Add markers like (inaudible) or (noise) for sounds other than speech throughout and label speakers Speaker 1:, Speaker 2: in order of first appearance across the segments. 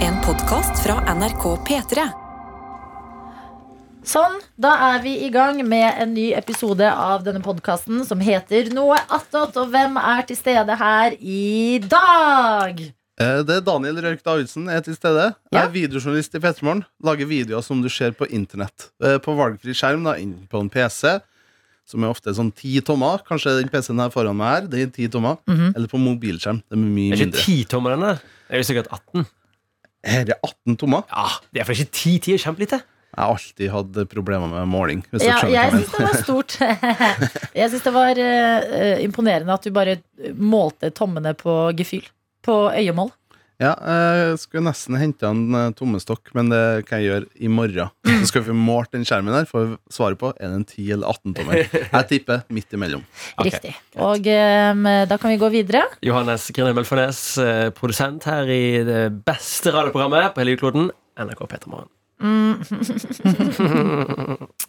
Speaker 1: En podkast fra NRK P3.
Speaker 2: Sånn, da er vi i gang med en ny episode av denne podkasten som heter Noe attåt. Og hvem er til stede her i dag?
Speaker 3: Eh, Det er Daniel Rørk Davidsen er til stede. Jeg
Speaker 2: Ja.
Speaker 3: er videojournalist i Petermorgen. Lager videoer som du ser på internett. Eh, På valgfri skjerm, da, inn på en PC, som er ofte sånn ti tommer. Kanskje den PC-en her foran meg her, det er ti tommer. Eller på mobilskjerm. Det er mye
Speaker 4: Det er ikke
Speaker 3: mindre.
Speaker 4: titommeren der. Det er jo sikkert 18.
Speaker 3: Her er 18 tommer.
Speaker 4: Ja, det er for ikke 10 10 er kjempelite.
Speaker 3: Jeg har alltid hatt problemer med måling. Hvis
Speaker 2: Ja,
Speaker 3: du skjønner hva jeg
Speaker 2: jeg
Speaker 3: mener.
Speaker 2: syns det var stort. (laughs) Jeg syns det var eh, eh, imponerende at du bare eh, målte tommene på gefühl. På øyemål.
Speaker 3: Ja, jeg skulle nesten hente en eh, tommestokk, men det kan jeg gjøre i morgen. Så skal vi få målt den skjermen her, får vi svaret på er det en 10 eller 18 tommer. Jeg tipper midt imellom.
Speaker 4: Ok,
Speaker 2: Riktig. Og eh, da kan vi gå videre.
Speaker 4: Johannes Grine Mølfarnes, eh, produsent her i det beste radioprogrammet på hele jordkloden, NRK Petermorgen.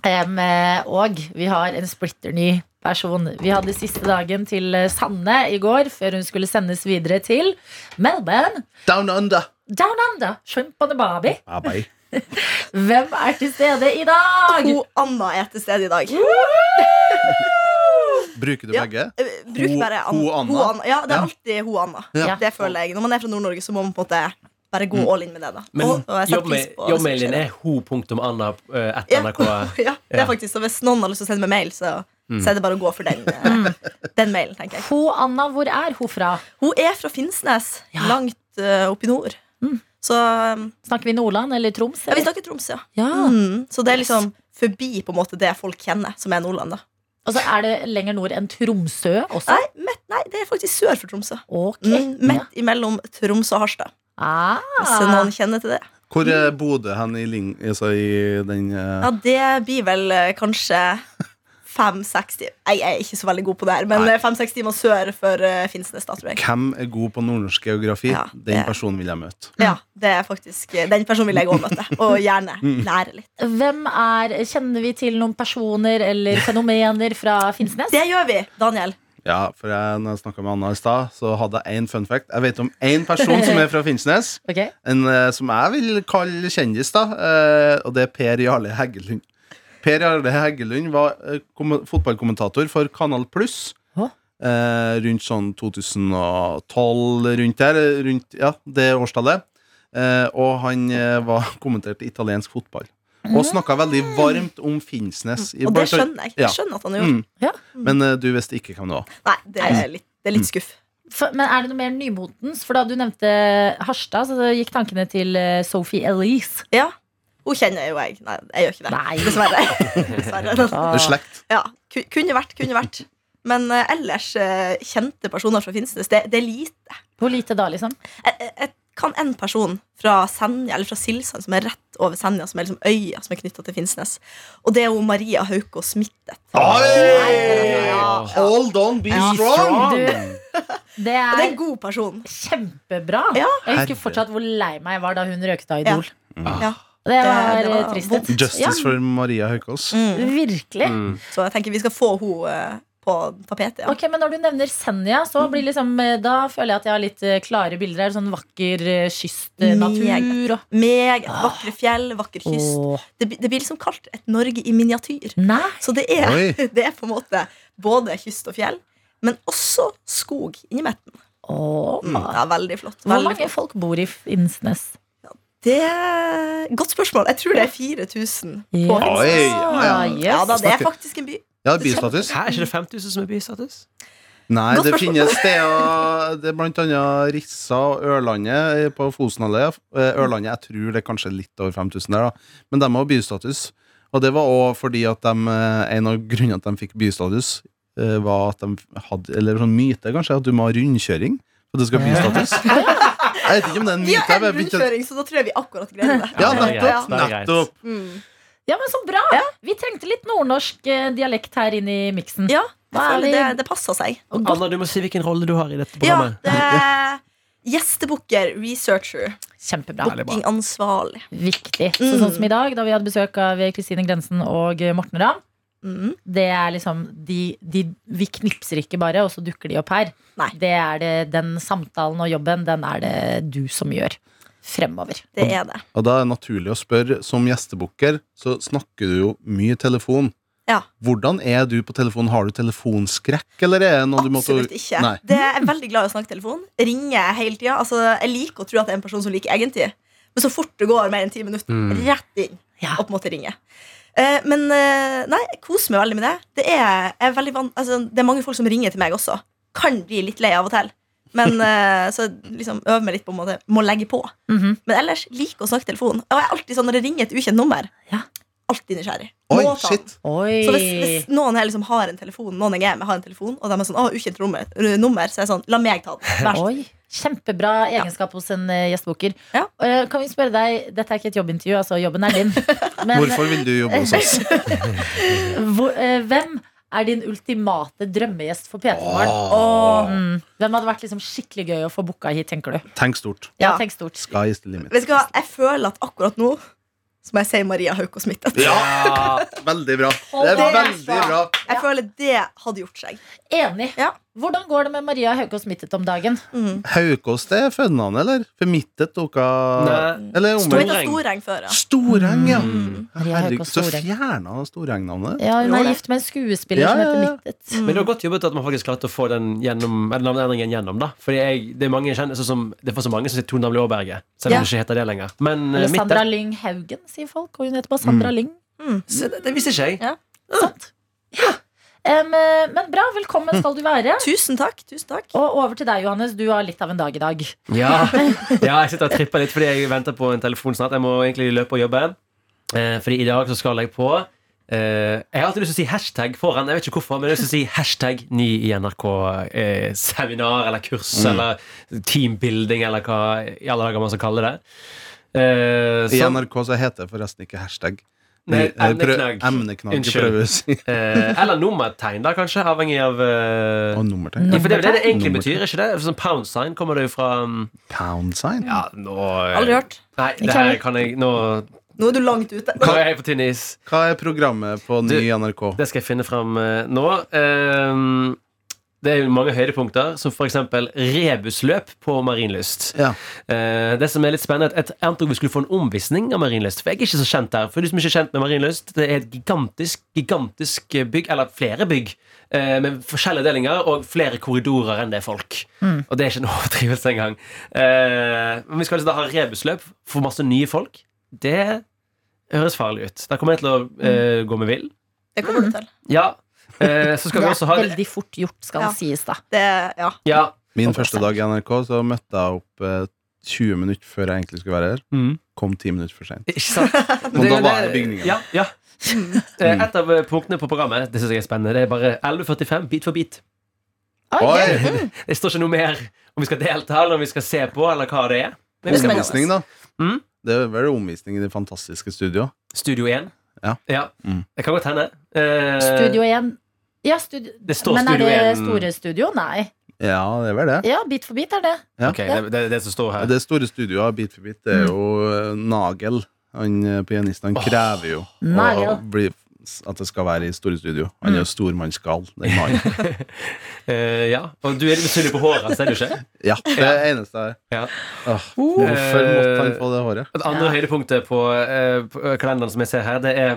Speaker 2: Em, eh, og vi har en splitter ny person. Vi hadde siste dagen til eh, Sanne i går, før hun skulle sendes videre til Melbourne.
Speaker 3: Down under!
Speaker 2: Down under, shrimp on the barbie.
Speaker 3: Ja, bye.
Speaker 2: Hvem er til stede i dag?
Speaker 5: To Anna er til stede i dag.
Speaker 3: Bruker du
Speaker 5: Ja.
Speaker 3: begge?
Speaker 5: Eh, Bruk
Speaker 3: Ho-
Speaker 5: bare
Speaker 3: ho Anna?
Speaker 5: Ho Anna. Ja, det er
Speaker 3: Ja.
Speaker 5: alltid ho Anna.
Speaker 2: Ja.
Speaker 5: Det føler jeg. Når man er fra Nord-Norge, så må man på en måte bare gå all in med det. da
Speaker 4: Men
Speaker 5: Og- og jeg setter
Speaker 4: jobbma-
Speaker 5: pris på det som
Speaker 4: jobbmailen
Speaker 5: skjer.
Speaker 4: er
Speaker 3: (laughs)
Speaker 5: Ja.
Speaker 4: ho.anna.nrk.
Speaker 5: (laughs) ja, det
Speaker 4: Ja.
Speaker 5: er faktisk så Hvis noen har lyst til å sende meg mail, så, så er det bare å gå for den, eh,
Speaker 2: Mm.
Speaker 5: den mailen. tenker jeg
Speaker 2: Ho Anna, hvor er hun fra?
Speaker 5: Hun er fra Finnsnes,
Speaker 2: Ja. Mm.
Speaker 5: langt eh, opp i nord. Så um,
Speaker 2: Snakker vi Nordland eller Troms?
Speaker 5: ja, vi
Speaker 2: Eller?
Speaker 5: snakker Troms, ja.
Speaker 2: Ja.
Speaker 5: Mm. Så det er
Speaker 2: Yes.
Speaker 5: liksom forbi på en måte det folk kjenner, som er Nordland. da
Speaker 2: Og så er det lenger nord enn Tromsø også?
Speaker 5: Nei, midt, nei, det er faktisk sør for Tromsø.
Speaker 2: Ok.
Speaker 5: Mm,
Speaker 2: Ja.
Speaker 5: midt imellom Tromsø og Harstad.
Speaker 2: Ah.
Speaker 5: Hvis noen kjenner til det.
Speaker 3: Hvor er Bodø hen i, Ling, altså i den eh,
Speaker 5: Ja, det blir vel eh, kanskje fem-seks timer. Jeg er ikke så veldig god på det her, men
Speaker 3: Nei.
Speaker 5: eh, fem-seks timer sør for eh, Finnsnes, da, tror jeg.
Speaker 3: Hvem er god på nordnorsk geografi?
Speaker 5: Ja,
Speaker 3: Den
Speaker 5: det-
Speaker 3: personen vil jeg møte.
Speaker 5: Ja, det er faktisk eh, Den personen vil jeg òg møte, og gjerne lære litt.
Speaker 2: Hvem er, Kjenner vi til noen personer eller fenomener
Speaker 5: (laughs)
Speaker 2: fra Finnsnes?
Speaker 5: Det gjør vi, Daniel.
Speaker 3: Ja, for jeg, når jeg snakka med Anna i stad, så hadde jeg én fun fact. Jeg vet om én person som er fra Finnsnes,
Speaker 2: Ok.
Speaker 3: en eh, som jeg vil kalle kjendis, da, eh, og det er Per Jarle Heggelund. Per Jarle Heggelund var eh, kom- fotballkommentator for Kanal Pluss.
Speaker 2: Hå?
Speaker 3: Eh, rundt sånn 2012, rundt der. eh, Rundt, ja, det årstallet. Eh, og han eh, var (laughs) kommentert i italiensk fotball. Og snakka veldig varmt om Finnsnes. i-
Speaker 5: Mm. Og det skjønner jeg.
Speaker 3: Ja.
Speaker 5: Jeg skjønner at han har gjort
Speaker 3: Mm.
Speaker 2: Ja.
Speaker 3: Men eh, du visste ikke hvem det var.
Speaker 5: Nei, det er litt, det er litt skuff.
Speaker 2: For, men er det noe mer nymotens? For da du nevnte Harstad, så gikk tankene til eh, Sophie Elise.
Speaker 5: Ja, Hun kjenner jo jeg. Nei, jeg gjør ikke det.
Speaker 2: Nei.
Speaker 5: Dessverre. Dessverre.
Speaker 3: Det er slekt.
Speaker 5: Ja, ku- kunne vært, kunne vært. Men eh, ellers eh, kjente personer fra Finnsnes, det, det er lite.
Speaker 2: Hvor lite da, liksom?
Speaker 5: jeg, jeg- jeg kan en person fra Senja, eller fra Silsand, som er rett over Senja, som er liksom øya som er knytta til Finnsnes. Og det er jo Maria Hauko Smittet.
Speaker 3: Ah, Oi! Hold on, be strong!
Speaker 2: Du, det
Speaker 5: Og det er en
Speaker 2: er
Speaker 5: god person.
Speaker 2: kjempebra.
Speaker 5: Ja.
Speaker 2: Jeg husker
Speaker 3: Herre.
Speaker 2: fortsatt hvor lei meg jeg var da hun røkte av Idol.
Speaker 5: Ja.
Speaker 2: Og Det var, Mm.
Speaker 5: Det- det var
Speaker 2: eh, trist.
Speaker 3: Justice
Speaker 2: Ja,
Speaker 3: for Mm. Maria Haukås.
Speaker 2: Virkelig.
Speaker 5: Så jeg tenker vi skal få henne på tapetet. Ja.
Speaker 2: Ok, men Når du nevner Senja, så blir liksom, eh, da føler jeg at jeg har litt eh, klare bilder her. Sånn vakker eh, kystnatur og
Speaker 5: Meget vakre fjell, vakker kyst.
Speaker 2: Åh.
Speaker 5: Det, blir- det blir liksom kalt et Norge i miniatyr.
Speaker 2: Nei!
Speaker 5: Så det er,
Speaker 3: Oi.
Speaker 5: (laughs) det er på en måte både kyst og fjell, men også skog inni midten.
Speaker 2: Åh.
Speaker 3: Mm.
Speaker 5: Det er veldig flott.
Speaker 2: Hvor
Speaker 5: Veldig
Speaker 2: mange folk bor i Innsnes?
Speaker 5: Det er Godt spørsmål. Jeg tror det er 4000 på
Speaker 2: Ja. Ah,
Speaker 5: Finnsnes.
Speaker 3: Oi, ja,
Speaker 2: ja.
Speaker 5: Ja da, det er
Speaker 3: Snakker-
Speaker 5: faktisk en by.
Speaker 3: Ja, bistatus.
Speaker 4: Her er ikke det 5000 som er bystatus?
Speaker 3: Nei,
Speaker 5: Godt
Speaker 3: det
Speaker 5: spørsmål.
Speaker 3: finnes steder Det er blant annet Rissa og Ørlandet på Fosenallea. Eh, Ørlandet, jeg tror det er kanskje litt over 5000 der, da. Men de har bystatus. Og det var òg fordi at de, eh, en av grunnene at de fikk bystatus, eh, var at de hadde Eller sånn myte, kanskje, at du må ha rundkjøring for at du skal ha bystatus.
Speaker 5: (laughs)
Speaker 3: Jeg vet ikke om det er en
Speaker 5: Vi
Speaker 3: myte.
Speaker 5: har
Speaker 3: jeg
Speaker 5: en
Speaker 3: bare begynte-
Speaker 5: rundkjøring, så da tror jeg vi akkurat greier det.
Speaker 3: Ja,
Speaker 4: Ja, det er
Speaker 3: nettopp!
Speaker 4: greit, det er greit.
Speaker 3: nettopp.
Speaker 5: Mm.
Speaker 2: Ja, men Så bra! Vi trengte litt nordnorsk eh, dialekt her inn i miksen.
Speaker 5: Ja, jeg
Speaker 2: Hva er
Speaker 5: føler
Speaker 2: det-
Speaker 5: det, det passer seg.
Speaker 2: Og godt,
Speaker 4: Anna, du må si hvilken rolle du har i dette
Speaker 5: Ja,
Speaker 4: programmet.
Speaker 5: det er Gjestebukker, researcher,
Speaker 2: kjempebra.
Speaker 5: bookingansvarlig.
Speaker 2: Viktig. Så, sånn som i dag, da vi hadde besøk av Kristine Grensen og eh, Morten Ramm.
Speaker 5: Mm.
Speaker 2: Det er liksom de, de, Vi knipser ikke bare, og så dukker de opp her.
Speaker 5: Nei.
Speaker 2: Det er det, Den samtalen og jobben, den er det du som gjør. fremover.
Speaker 5: Det er det.
Speaker 3: Og da er det naturlig å spørre, som gjestebooker, så snakker du jo mye telefon.
Speaker 5: Ja.
Speaker 3: Hvordan er du på telefon? Har du telefonskrekk, eller er det noe du måtte
Speaker 5: Absolutt ikke.
Speaker 3: Nei.
Speaker 5: Det jeg er veldig glad i å snakke telefon. Ringer hele tida. Altså, jeg liker å tro at det er en person som liker egentid. Men så fort det går mer enn ti minutter,
Speaker 4: Mm.
Speaker 5: rett inn.
Speaker 2: Ja.
Speaker 5: Og på en måte ringe. Eh, men eh, nei, jeg koser meg veldig med det. Det er, jeg er veldig van altså, det er mange folk som ringer til meg også. Kan bli litt lei av og til.
Speaker 3: (laughs)
Speaker 5: Men eh, så liksom øver meg litt på en måte. Må legge på.
Speaker 2: Mhm.
Speaker 5: Men ellers liker å snakke telefon. Og jeg er alltid sånn når jeg ringer et ukjent nummer.
Speaker 2: Ja.
Speaker 5: Alltid nysgjerrig.
Speaker 3: Oi,
Speaker 5: Må ta den.
Speaker 3: shit!
Speaker 2: Oi.
Speaker 5: Så hvis, hvis noen her liksom har en telefon Noen jeg er med har en telefon Og de er sånn, å, ukjent nummer, nummer Så er jeg sånn, la meg ta den Vær så snill.
Speaker 2: Oi. Kjempebra egenskap hos en eh, gjestebooker.
Speaker 5: Ja.
Speaker 2: Eh, kan vi spørre deg, Dette er ikke et jobbintervju, altså jobben er
Speaker 5: (laughs)
Speaker 2: din. Men
Speaker 3: Hvorfor vil du jobbe hos oss?
Speaker 2: (laughs) hvor, eh, hvem er din ultimate drømmegjest for P3 Morgen?
Speaker 5: Åh.
Speaker 2: Mm. Hvem hadde vært liksom skikkelig gøy å få booka hit, tenker du?
Speaker 3: Tenk stort.
Speaker 2: Ja,
Speaker 5: Ja.
Speaker 2: tenk stort.
Speaker 3: Sky is the limit.
Speaker 5: Vet du hva, jeg føler at akkurat nå Som jeg sier Maria Hauko Smith Jeg
Speaker 3: Ja! Veldig bra. Det
Speaker 2: Det
Speaker 3: er
Speaker 5: er
Speaker 3: veldig bra.
Speaker 5: bra. føler det hadde gjort seg
Speaker 2: Enig.
Speaker 5: Ja.
Speaker 2: Hvordan går det med Maria Haukås Mittet om dagen?
Speaker 5: mm.
Speaker 3: Haukås, det er fødenavnet, eller? For mittet dere
Speaker 4: (laughs) Nei.
Speaker 3: Eller
Speaker 5: Du vet
Speaker 3: omvendt.
Speaker 4: Storeng.
Speaker 5: at Storeng før, ja
Speaker 3: Storeng, ja.
Speaker 5: Mm.
Speaker 2: Maria
Speaker 3: Herregud,
Speaker 2: Haukås
Speaker 3: så
Speaker 2: Storeng.
Speaker 3: fjerna Storeng-navnet.
Speaker 2: Ja, Hun
Speaker 5: Jo,
Speaker 2: er
Speaker 5: det.
Speaker 2: gift med en skuespiller
Speaker 3: Ja,
Speaker 2: som
Speaker 3: ja, ja.
Speaker 2: heter Mittet.
Speaker 4: Men det var godt jobbet at man faktisk klarte å få den gjennom, eller navneendringen gjennom. da Fordi jeg, Det er mange jeg kjenner sånn som Det er for så mange som sier Tone Damli Aaberge. Selv om
Speaker 5: Ja.
Speaker 4: det ikke heter det lenger. Men eh,
Speaker 2: Eller
Speaker 4: mitt
Speaker 2: Sandra Lyng Haugen, sier folk. Og hun heter bare Sandra Lyng.
Speaker 5: mm.
Speaker 4: Se, det, det visste ikke jeg.
Speaker 5: Ja.
Speaker 2: Sant? Ja. Em, eh, men bra, velkommen skal du være.
Speaker 5: Tusen takk, tusen takk
Speaker 2: Og over til deg, Johannes. Du har litt av en dag i dag.
Speaker 4: Ja. ja, jeg sitter og tripper litt fordi jeg venter på en telefon snart. Jeg må egentlig løpe og jobbe. Eh, fordi i dag så skal jeg på eh, Jeg har alltid lyst til å si hashtag foran. Jeg vet ikke hvorfor, men jeg har lyst til å si hashtag ny i NRK-seminar eller kurs eller teambuilding eller hva i alle dager man skal kalle det. Eh,
Speaker 3: I
Speaker 4: så-
Speaker 3: NRK så heter det forresten ikke hashtag.
Speaker 4: Nei,
Speaker 3: Eh, prø-
Speaker 4: emneknagg.
Speaker 3: Emneknagg.
Speaker 4: Unnskyld.
Speaker 3: prøver å si.
Speaker 4: (laughs) Eh, eller nummertegn, da, kanskje. Avhengig av eh,
Speaker 3: Og nummertegn.
Speaker 4: ja, For det er jo det det egentlig
Speaker 3: Nummertegn.
Speaker 4: betyr, ikke det? Sånn pound sign kommer det jo fra mm,
Speaker 3: Pound sign?
Speaker 4: Ja, nå eh,
Speaker 5: Aldri hørt
Speaker 4: Nei, det her kan jeg Nå,
Speaker 5: Nå er du langt ute
Speaker 4: nå er jeg på tynn is.
Speaker 3: Hva er programmet på ny NRK?
Speaker 4: Det skal jeg finne fram eh, nå. Ehm, det er jo mange høydepunkter, som f.eks. rebusløp på Marienlyst.
Speaker 3: Ja.
Speaker 4: Eh, det som er litt spennende, er at Jeg antok vi skulle få en omvisning av Marienlyst. For jeg er ikke så kjent der. For de som ikke er kjent med Marienlyst, det er et gigantisk gigantisk eh, bygg, eller flere bygg, eh, med forskjellige delinger og flere korridorer enn det er folk. Og det er ikke en (laughs) overdrivelse engang. Eh, men vi skal altså da ha rebusløp for masse nye folk. Det høres farlig ut. Da kommer jeg til å eh, gå meg vill.
Speaker 5: Det kommer du til
Speaker 4: Ja. Eh, så skal
Speaker 2: det
Speaker 4: vi
Speaker 2: er
Speaker 4: også ha
Speaker 2: veldig fort gjort, skal
Speaker 5: Ja.
Speaker 2: sies, da.
Speaker 5: det, ja.
Speaker 4: ja.
Speaker 3: Min første dag i NRK så møtte jeg opp eh, 20 minutter før jeg egentlig skulle være her.
Speaker 4: Mm.
Speaker 3: Kom 10 minutter for seint.
Speaker 4: Ikke (laughs) sant?
Speaker 3: Men
Speaker 4: Det-
Speaker 3: da var jeg
Speaker 4: det-
Speaker 3: i bygningen.
Speaker 4: Ja, ja. Eh, Et av eh, punktene på programmet Det synes jeg er spennende. Det er bare 11.45 bit for bit.
Speaker 3: Oi!
Speaker 2: Mm.
Speaker 4: Det står ikke noe mer om vi skal delta, eller om vi skal se på, eller hva det er. Men vi skal på
Speaker 3: Omvisning, da.
Speaker 4: Mm.
Speaker 3: Det er vel omvisning i det fantastiske studioet.
Speaker 4: Studio 1.
Speaker 3: Ja. Mm.
Speaker 4: Det kan godt hende. Eh,
Speaker 2: Studio 1. Ja, studio.
Speaker 4: Det står
Speaker 2: Men er
Speaker 4: Studio
Speaker 2: det
Speaker 4: 1.
Speaker 2: store studio? Nei.
Speaker 3: Ja, det er vel det.
Speaker 2: Ja, bit for bit er det.
Speaker 3: Ja.
Speaker 4: Ok, det, det er det som står her.
Speaker 3: Det store studioet, bit for bit, det er jo eh, Nagel. Han eh, pianisten han
Speaker 4: Åh.
Speaker 3: krever jo
Speaker 2: Nagel.
Speaker 3: å bli, at det skal være i store studio. Han er
Speaker 4: Mm.
Speaker 3: jo stormannsgal, den
Speaker 4: (laughs)
Speaker 3: mannen.
Speaker 4: Eh, ja. Og du er litt misunnelig på håret, ser du ikke?
Speaker 3: Ja, det er det eneste jeg
Speaker 4: Ja. Eh,
Speaker 3: Åh, Hvorfor måtte han få det håret?
Speaker 4: Et andre høydepunktet på, eh, på eh, kalenderen som jeg ser her, det er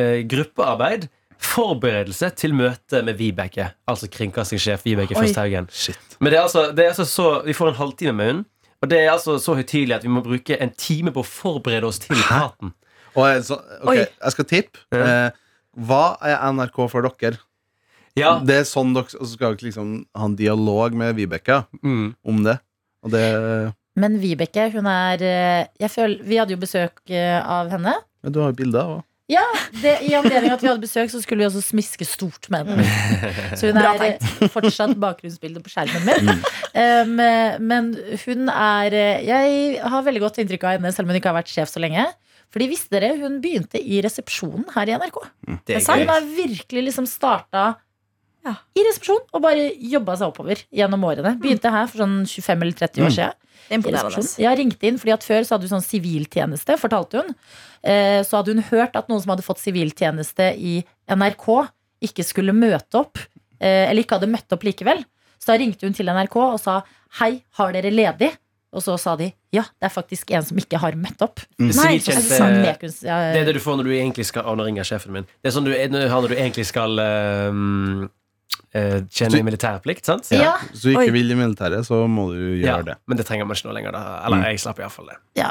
Speaker 4: eh, gruppearbeid. Forberedelse til møte med Vibeke, altså kringkastingssjef Vibeke
Speaker 5: Oi.
Speaker 4: Førsthaugen.
Speaker 3: Shit.
Speaker 4: Men det er altså, det er altså så, vi får en halvtime med hun og det er altså så høytidelig at vi må bruke en time på å forberede oss til praten.
Speaker 3: Og jeg, så, ok,
Speaker 5: Oi.
Speaker 3: jeg skal tippe.
Speaker 4: Ja.
Speaker 3: Eh, hva er NRK for dere?
Speaker 4: Ja,
Speaker 3: Det er sånn dere og så skal dere liksom ha en dialog med Vibeke
Speaker 4: mm.
Speaker 3: om det. Og det
Speaker 2: Men Vibeke, hun er eh, jeg føler, Vi hadde jo besøk eh, av henne.
Speaker 3: ja, Du har jo bilder òg.
Speaker 2: Ja, det, I anledning at vi hadde besøk, så skulle vi også smiske stort med
Speaker 4: (laughs)
Speaker 2: henne. Så hun
Speaker 5: Bra
Speaker 2: er eh, fortsatt bakgrunnsbildet på skjermen min.
Speaker 4: Mm.
Speaker 2: Um, eh, men hun er eh, Jeg har veldig godt inntrykk av henne, selv om hun ikke har vært sjef så lenge. Fordi visste dere, Hun begynte i resepsjonen her i NRK.
Speaker 4: det
Speaker 5: sant?
Speaker 2: Hun
Speaker 4: er gøy.
Speaker 2: har virkelig liksom starta
Speaker 5: Ja.
Speaker 2: i resepsjon og bare jobba seg oppover gjennom årene. Begynte her for sånn 25 eller 30 år
Speaker 4: Mm.
Speaker 2: siden.
Speaker 5: Det er
Speaker 2: i
Speaker 5: imponerende
Speaker 2: resepsjon. Jeg ringte inn, fordi at Før så hadde hun sånn siviltjeneste, fortalte hun. Eh, Så hadde hun hørt at noen som hadde fått siviltjeneste i NRK, ikke skulle møte opp. eh, Eller ikke hadde møtt opp likevel. Så da ringte hun til NRK og sa hei, har dere ledig? Og så sa de ja, det er faktisk en som ikke har møtt opp.
Speaker 5: Nei,
Speaker 4: Siviltjeneste-
Speaker 3: eh,
Speaker 5: for
Speaker 2: Sånn medkunst- ja,
Speaker 4: Det er det du får når du egentlig skal Å, nå ringer sjefen min. Det er sånn du, nå har når du egentlig skal ehm, eh, tjene
Speaker 3: Du-
Speaker 4: militærplikt, sant?
Speaker 2: Ja.
Speaker 3: Hvis du ikke
Speaker 5: Oi.
Speaker 3: vil i militæret, så må du gjøre
Speaker 4: Ja,
Speaker 3: det.
Speaker 4: Men det trenger man ikke nå lenger. Da. Eller
Speaker 3: Mm.
Speaker 4: jeg slapp iallfall det.
Speaker 2: Ja.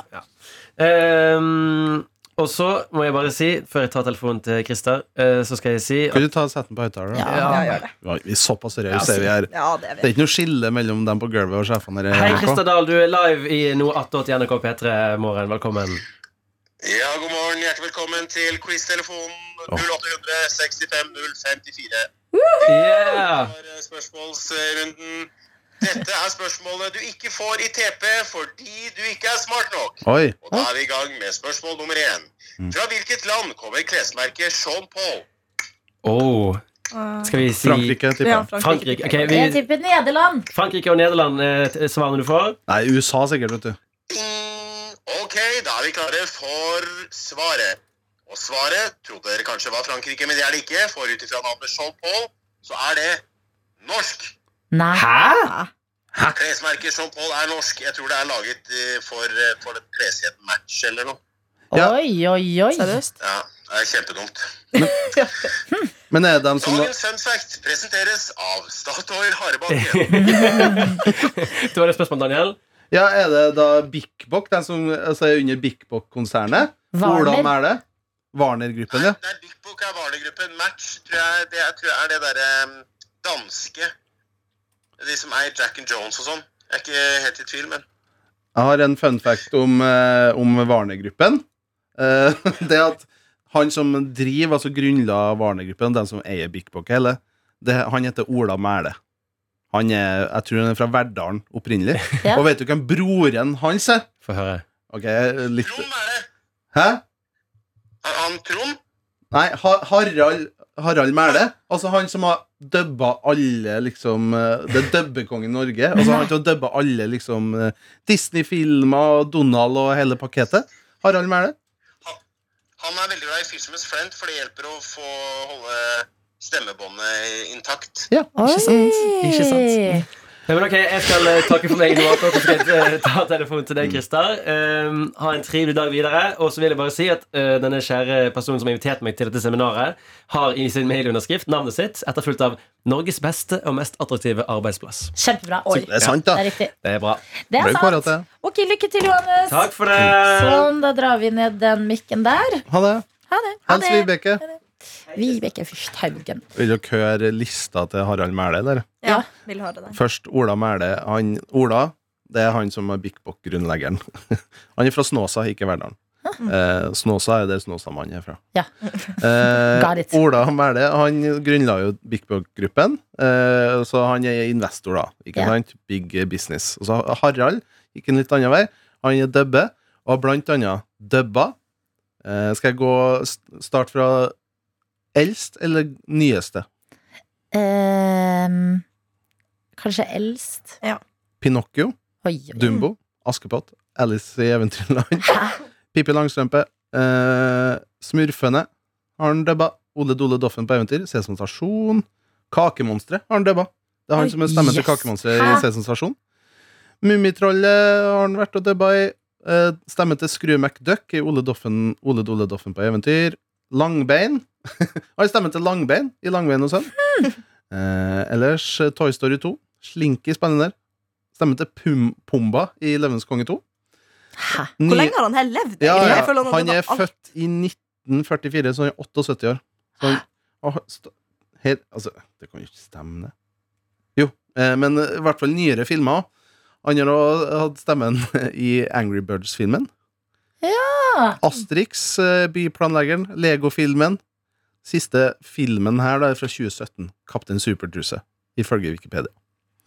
Speaker 4: Ehm, og så må jeg bare si, før jeg tar telefonen til Christer, eh, så skal jeg si at,
Speaker 3: Kan du ta setten på høyttaler? da?
Speaker 2: Ja.
Speaker 5: Ja, gjør det.
Speaker 3: Oi, Vi er såpass
Speaker 4: Ja,
Speaker 3: seriøse er vi her.
Speaker 5: Ja, det er
Speaker 3: Det
Speaker 5: vi.
Speaker 3: er ikke noe skille mellom dem på gulvet og sjefene her.
Speaker 4: Hei,
Speaker 3: NRK.
Speaker 4: Christer Dahl, du er live i noe attåt i NRK P3 morgen. Velkommen.
Speaker 6: Ja, god morgen. Hjertelig velkommen til quiz-telefonen 0800 65 054.
Speaker 4: Yeah!
Speaker 6: For eh, spørsmålsrunden. Dette er spørsmålene du ikke får i TP fordi du ikke er smart nok.
Speaker 3: Oi.
Speaker 6: Og da er vi i gang med spørsmål nummer én. Fra hvilket land kommer klesmerket Sean Paul?
Speaker 4: Oh, skal vi si
Speaker 3: Frankrike, tipper
Speaker 5: Ja,
Speaker 3: jeg.
Speaker 4: Frankrike. Ok, vi,
Speaker 2: Jeg tipper Nederland.
Speaker 4: Frankrike og Nederland er t- svarene du får.
Speaker 3: Nei, USA sikkert, vet du.
Speaker 6: Ding! Ok, da er vi klare for svaret. Og svaret trodde dere kanskje var Frankrike, men det er det ikke. For ut ifra navnet Sean Paul, så er det norsk.
Speaker 2: Nei.
Speaker 4: Hæ?
Speaker 5: Ja.
Speaker 6: Klesmerket Jean Paul er norsk. Jeg tror det er laget eh, for, eh, for et kleskjeden match eller noe.
Speaker 3: Ja.
Speaker 2: Oi, oi, oi.
Speaker 5: Seriøst?
Speaker 6: Ja, det er kjempedumt.
Speaker 3: Men er det dem som
Speaker 6: Dagens fun fact presenteres av Statoil
Speaker 3: (laughs)
Speaker 6: Harebakke.
Speaker 4: Du har et spørsmål, Daniel.
Speaker 3: Ja, er det da Bikkbok? Den som altså, er under Bikkbok-konsernet? Hvordan
Speaker 2: Warner.
Speaker 3: er det? Warner-gruppen, ja.
Speaker 6: Det er Big Book er Varner-gruppen. Match tror jeg det er, tror jeg er det derre eh, danske De som eier Jack and Jones og sånn. Jeg er ikke helt i tvil, men
Speaker 3: Jeg har en fun fact om, eh, om Varner-gruppen. Eh, (laughs) det at han som driver, altså grunnla Varner-gruppen, den som eier Big Book hele, det, han heter Ola Mæle. Han er, jeg tror han er fra Verdalen opprinnelig.
Speaker 2: Ja.
Speaker 3: Og vet du hvem broren hans er?
Speaker 4: Få høre.
Speaker 3: Ok, litt
Speaker 6: Trond er det.
Speaker 3: Hæ?
Speaker 6: Er han Trond?
Speaker 3: Nei, Har- Harald Harald Mæle. Altså han som har dubba alle, liksom eh, Det er dubbekongen i Norge. Altså han som har dubba alle, liksom eh, Disney-filmer og Donald og hele pakketet. Harald Mæle.
Speaker 6: Han er veldig glad i Fisherman's Friend, for det hjelper å få holde stemmebåndet intakt.
Speaker 3: Ja, ikke sant?
Speaker 4: Ikke sant. Nei, men ok, Jeg skal eh, takke for meg nå. og så skal jeg eh, ta telefonen til deg, Christer. Um, ha en trivelig dag videre. Og så vil jeg bare si at eh, denne kjære personen som har invitert meg til dette seminaret, har i sin mailunderskrift navnet sitt etterfulgt av 'Norges beste og mest attraktive arbeidsplass'.
Speaker 2: Kjempebra. Oi.
Speaker 3: Det er sant,
Speaker 2: Det
Speaker 3: da.
Speaker 2: er riktig.
Speaker 4: Det er bra.
Speaker 2: Det
Speaker 3: Ble
Speaker 2: er
Speaker 3: jo
Speaker 2: sant.
Speaker 3: kåret til.
Speaker 2: Ok, lykke til, Johannes.
Speaker 4: Takk for det.
Speaker 2: Sånn, da drar vi ned den mikken der.
Speaker 3: Ha det.
Speaker 2: Ha det. Ha
Speaker 3: Hans
Speaker 2: det.
Speaker 3: Vibeke.
Speaker 2: Vibeke Fyrst Haugen.
Speaker 3: Vil dere høre lista til Harald Mæle? Eller?
Speaker 5: Ja, vil høre det.
Speaker 3: Først Ola Mæle. Han, Ola det er han som er Bik Bok-grunnleggeren. (laughs) han er fra Snåsa, ikke Verdalen. Eh, Snåsa er der Snåsamannen er fra.
Speaker 2: Ja. Got it.
Speaker 3: eh, Ola Mæle han grunnla jo Bik Bok-gruppen, eh, så han er investor, da. Ikke
Speaker 2: Ja.
Speaker 3: sant? Big business. Og så Harald gikk en litt annen vei. Han er dubbe, og har blant annet dubba. Eh, skal jeg gå st- start fra eldst eller nyeste?
Speaker 2: Ehm, kanskje eldst.
Speaker 3: Pinocchio,
Speaker 2: Oi, oi.
Speaker 3: Dumbo, Askepott, Alice i Eventyrland, (laughs) Pippi Langstrømpe, eh, Smurfene, har han dubba, Ole Dole Doffen på eventyr, Sesam Stasjon, Kakemonstre har han dubba. Det er han
Speaker 2: Oi,
Speaker 3: som er stemmen til
Speaker 2: yes.
Speaker 3: Kakemonstre i
Speaker 2: Hæ?
Speaker 3: Sesam Stasjon. Mummitrollet har han vært og dubba i. Eh, stemmen til Skrue McDuck i Ole, Doffen, Ole Dole Doffen på eventyr. Langbein. (laughs) Har stemmen til Langbein i Langbein og sønn.
Speaker 2: Hmm.
Speaker 3: Eh, ellers eh, Toy Story 2. Slinky spennende. Stemmen til Pum Pumba i Løvenes konge 2.
Speaker 2: Hæ?
Speaker 5: Hvor
Speaker 3: Ny-
Speaker 5: lenge har han her levd?
Speaker 3: Ja,
Speaker 5: egentlig?
Speaker 3: ja.
Speaker 5: Jeg føler har
Speaker 3: Han
Speaker 5: dødd
Speaker 3: er
Speaker 5: av alt.
Speaker 3: født i 1944, så han er 78 år. Så han, og, han st- helt, altså, det kan jo ikke stemme, det. Jo, eh, men eh, i hvert fall nyere filmer òg. Han har også hatt stemmen (laughs) i Angry Birds-filmen.
Speaker 2: Ja.
Speaker 3: Asterix, eh, Byplanleggeren, Lego-filmen. Siste filmen her da, er fra 2017. Kaptein Supertruse, ifølge Wikipedia.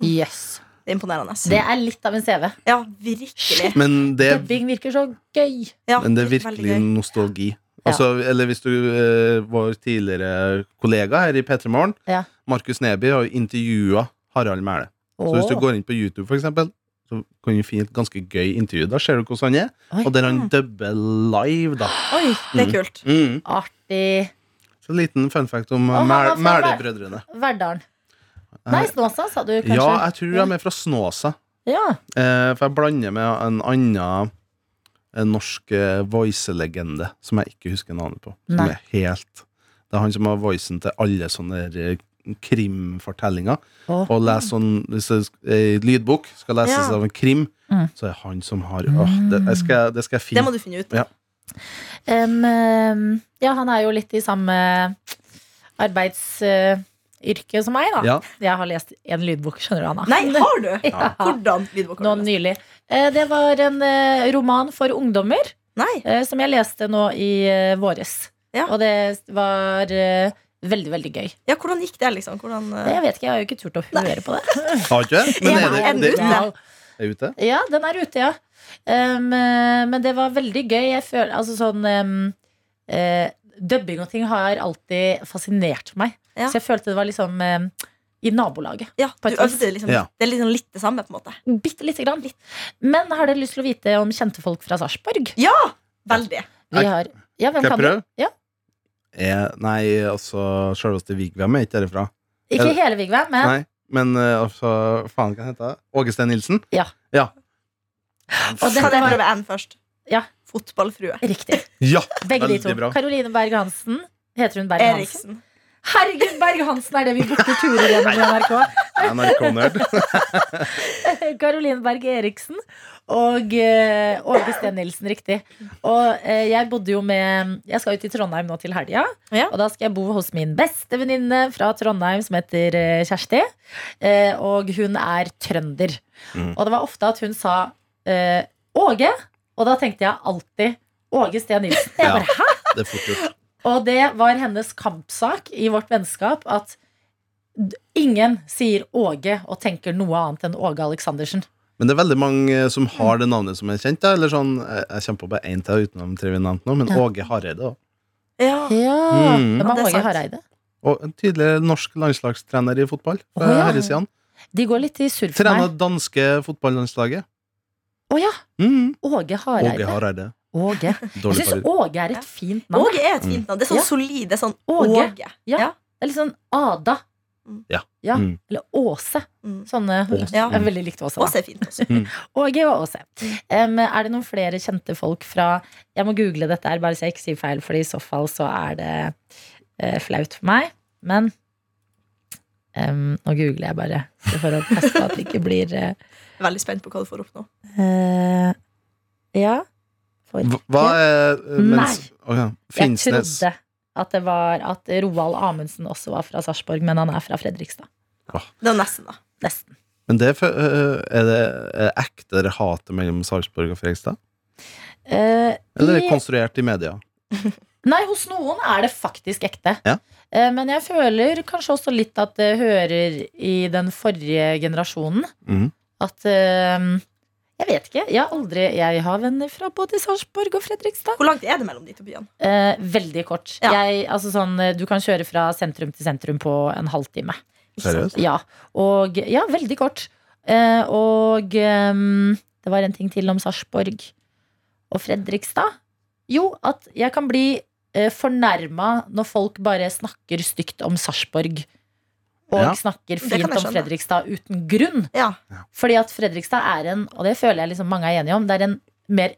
Speaker 2: Yes.
Speaker 5: Det er imponerende.
Speaker 2: Det er litt av en CV.
Speaker 5: Ja, virkelig.
Speaker 3: Men det
Speaker 2: Dubbing virker så gøy.
Speaker 5: Ja,
Speaker 3: Men det er
Speaker 5: veldig
Speaker 3: virkelig
Speaker 5: gøy.
Speaker 3: nostalgi. Altså, Eller hvis du eh, Vår tidligere kollega her i P3 Morgen,
Speaker 2: Ja.
Speaker 3: Markus Neby, har jo intervjua Harald Mæle. Så hvis du
Speaker 2: Åh.
Speaker 3: går inn på YouTube, for eksempel, så kan du finne et ganske gøy intervju. Da ser du hvordan han er,
Speaker 2: Oi.
Speaker 3: og der han dubber live,
Speaker 2: (gasps)
Speaker 3: da.
Speaker 5: Oi, det er kult.
Speaker 3: Mm.
Speaker 2: Artig.
Speaker 3: Så en liten fun fact om
Speaker 2: han var
Speaker 3: Mæl-
Speaker 2: fra
Speaker 3: Mæle-brødrene.
Speaker 2: Verdalen. Nei, Snåsa, sa du kanskje?
Speaker 3: Ja, jeg tror
Speaker 2: Ja.
Speaker 3: de er fra Snåsa.
Speaker 2: Ja.
Speaker 3: Eh, for jeg blander med en annen eh, norsk eh, voicelegende som jeg ikke husker navnet på. Som
Speaker 2: Nei.
Speaker 3: er helt Det er han som har voicen til alle sånne der, eh, krimfortellinger.
Speaker 2: Å.
Speaker 3: Og leser sånn Hvis det er ei lydbok skal leses
Speaker 5: Ja.
Speaker 3: av en krim,
Speaker 2: Mm.
Speaker 3: så er det han som har åh, det, jeg skal, det skal jeg
Speaker 5: Det
Speaker 3: finne.
Speaker 5: må du finne ut.
Speaker 3: Ja.
Speaker 2: Em, em, ja, han er jo litt i samme arbeidsyrke som meg, da.
Speaker 3: Ja.
Speaker 2: Jeg har lest én lydbok, skjønner du, Anna.
Speaker 5: Nei, har du?
Speaker 2: Ja.
Speaker 5: Hvordan lydbok
Speaker 2: Nå
Speaker 5: har du lest?
Speaker 2: nylig. Eh, Det var en eh, roman for ungdommer
Speaker 5: Nei.
Speaker 2: eh, som jeg leste nå i eh, våres.
Speaker 5: Ja.
Speaker 2: Og det var eh, veldig, veldig gøy.
Speaker 5: Ja, hvordan gikk det, liksom? Hvordan, eh,
Speaker 2: Jeg vet ikke, jeg har jo ikke turt å høre på det.
Speaker 3: Har
Speaker 2: (laughs)
Speaker 3: ikke det? (laughs) Men
Speaker 5: Ja,
Speaker 3: er det,
Speaker 5: er den
Speaker 3: det,
Speaker 5: ute?
Speaker 3: er det ute?
Speaker 2: Ja, den er ute, ja. Um, eh, men det var veldig gøy. Jeg føler, altså sånn um, eh, Dubbing og ting har alltid fascinert meg.
Speaker 5: Ja.
Speaker 2: Så jeg følte det var liksom um, i nabolaget.
Speaker 5: ja,
Speaker 2: på
Speaker 5: du
Speaker 2: et vis.
Speaker 5: øvde liksom
Speaker 3: Ja.
Speaker 5: Det er liksom litt det samme, på en måte.
Speaker 3: Mm.
Speaker 2: Bitte lite grann. Men har dere lyst til å vite om kjente folk fra Sarpsborg?
Speaker 5: Ja! Veldig.
Speaker 2: Vi har ja, hvem
Speaker 3: Skal jeg
Speaker 2: kan du?
Speaker 3: prøve?
Speaker 2: Ja.
Speaker 3: Er, nei, altså Sjølveste Vigvam er ikke derifra.
Speaker 2: Ikke hele Vigvam, men
Speaker 3: Nei, men eh, altså, faen hva heter det? Åge Steen Nilsen?
Speaker 2: og
Speaker 5: Kan
Speaker 2: dette
Speaker 5: jeg
Speaker 2: var
Speaker 5: prøve en først?
Speaker 2: Ja.
Speaker 5: Fotballfrue.
Speaker 2: riktig.
Speaker 3: Ja!
Speaker 2: Begge de
Speaker 3: Veldig
Speaker 2: to.
Speaker 3: bra.
Speaker 2: Caroline Berg-Hansen. Heter hun Berg-Hansen?
Speaker 5: Eriksen.
Speaker 2: Herregud, Berg-Hansen er det vi booker turer gjennom i NRK. (laughs)
Speaker 3: NRK-nerd.
Speaker 2: Caroline Berg Eriksen og eh, Åge Steen Nilsen, riktig. Og eh, jeg bodde jo med Jeg skal ut i Trondheim nå til helga.
Speaker 5: Ja.
Speaker 2: Og da skal jeg bo hos min beste venninne fra Trondheim som heter eh, Kjersti. Eh, og hun er trønder.
Speaker 3: Mm.
Speaker 2: Og det var ofte at hun sa eh, Åge, og da tenkte jeg alltid Åge Steen Nilsen. Jeg
Speaker 3: Ja.
Speaker 2: bare, Hæ?
Speaker 3: Det er fort gjort.
Speaker 2: Og det var hennes kampsak i vårt vennskap at d- ingen sier Åge og tenker noe annet enn Åge Aleksandersen.
Speaker 3: Men det er veldig mange eh, som har det navnet som er kjent. Da. Eller sånn, eh, jeg kommer på bare én til utenom tre vi nevnte nå, men
Speaker 2: Ja.
Speaker 3: Åge Hareide. da.
Speaker 5: Ja.
Speaker 2: Ja, Hvem er
Speaker 3: Mm.
Speaker 5: Ja, det er
Speaker 2: Åge
Speaker 5: sant.
Speaker 2: Hareide?
Speaker 3: Og en tidligere norsk landslagstrener i fotball.
Speaker 2: Å,
Speaker 3: Fra
Speaker 2: ja.
Speaker 3: herresiden.
Speaker 2: De går litt i surr for
Speaker 3: Trena
Speaker 2: meg.
Speaker 3: danske fotballandslaget.
Speaker 2: Å ja!
Speaker 3: Mm.
Speaker 2: Åge
Speaker 3: Åge
Speaker 2: Hareide.
Speaker 3: Hareide.
Speaker 2: Åge. Jeg
Speaker 3: Dårlig
Speaker 2: syns
Speaker 3: parodi.
Speaker 2: Åge er et fint navn.
Speaker 5: Åge er et
Speaker 3: Mm.
Speaker 5: fint navn. Det er sånn
Speaker 2: Ja.
Speaker 5: solid. Det er sånn
Speaker 2: Åge.
Speaker 5: Åge.
Speaker 2: Ja. Det er litt sånn Ada.
Speaker 5: Mm.
Speaker 3: Ja.
Speaker 2: ja.
Speaker 3: Mm.
Speaker 2: Eller Åse.
Speaker 5: Mm.
Speaker 2: Sånne
Speaker 3: Åse.
Speaker 5: Ja.
Speaker 2: Jeg er veldig likt Åse. da.
Speaker 5: Åse er fint også.
Speaker 2: Åge og Åse. Em, er det noen flere kjente folk fra Jeg må google dette her, bare så jeg ikke sier feil, for i så fall så er det eh, flaut for meg. Men em, nå googler jeg bare for å passe på at det ikke blir eh,
Speaker 5: Veldig spent på hva du får opp nå.
Speaker 2: eh, Ja. For
Speaker 3: Hva- Hva er eh, mens, Å, ja.
Speaker 2: Jeg
Speaker 3: Finnsnes.
Speaker 2: trodde at det var at Roald Amundsen også var fra Sarpsborg, men han er fra Fredrikstad.
Speaker 5: Det var nesten, da.
Speaker 2: Nesten.
Speaker 3: Men det er, for- eh, er det eh, ekte det hatet mellom Sarpsborg og Fredrikstad?
Speaker 2: Eh,
Speaker 3: Eller er
Speaker 2: i-
Speaker 3: det konstruert i media?
Speaker 2: Nei, hos noen er det faktisk ekte.
Speaker 3: Ja.
Speaker 2: Eh, Men jeg føler kanskje også litt at det hører i den forrige generasjonen.
Speaker 3: Mhm.
Speaker 2: At eh, Jeg vet ikke. Jeg har aldri Jeg har venner fra både Sarpsborg og Fredrikstad.
Speaker 5: Hvor langt er det mellom de to byene?
Speaker 2: Eh, veldig kort.
Speaker 5: Ja.
Speaker 2: Jeg, altså sånn, eh, du kan kjøre fra sentrum til sentrum på en halvtime.
Speaker 3: Seriøst?
Speaker 2: Ja, og, ja veldig kort. Eh, og ehm, det var en ting til om Sarpsborg og Fredrikstad. Jo, at jeg kan bli eh, fornærma når folk bare snakker stygt om Sarpsborg. Og
Speaker 3: Ja.
Speaker 2: snakker
Speaker 5: kan jeg
Speaker 2: fint om
Speaker 5: skjønne.
Speaker 2: Fredrikstad uten grunn.
Speaker 5: Ja.
Speaker 2: Fordi at Fredrikstad er en, og det føler jeg liksom mange er enige om, det er en mer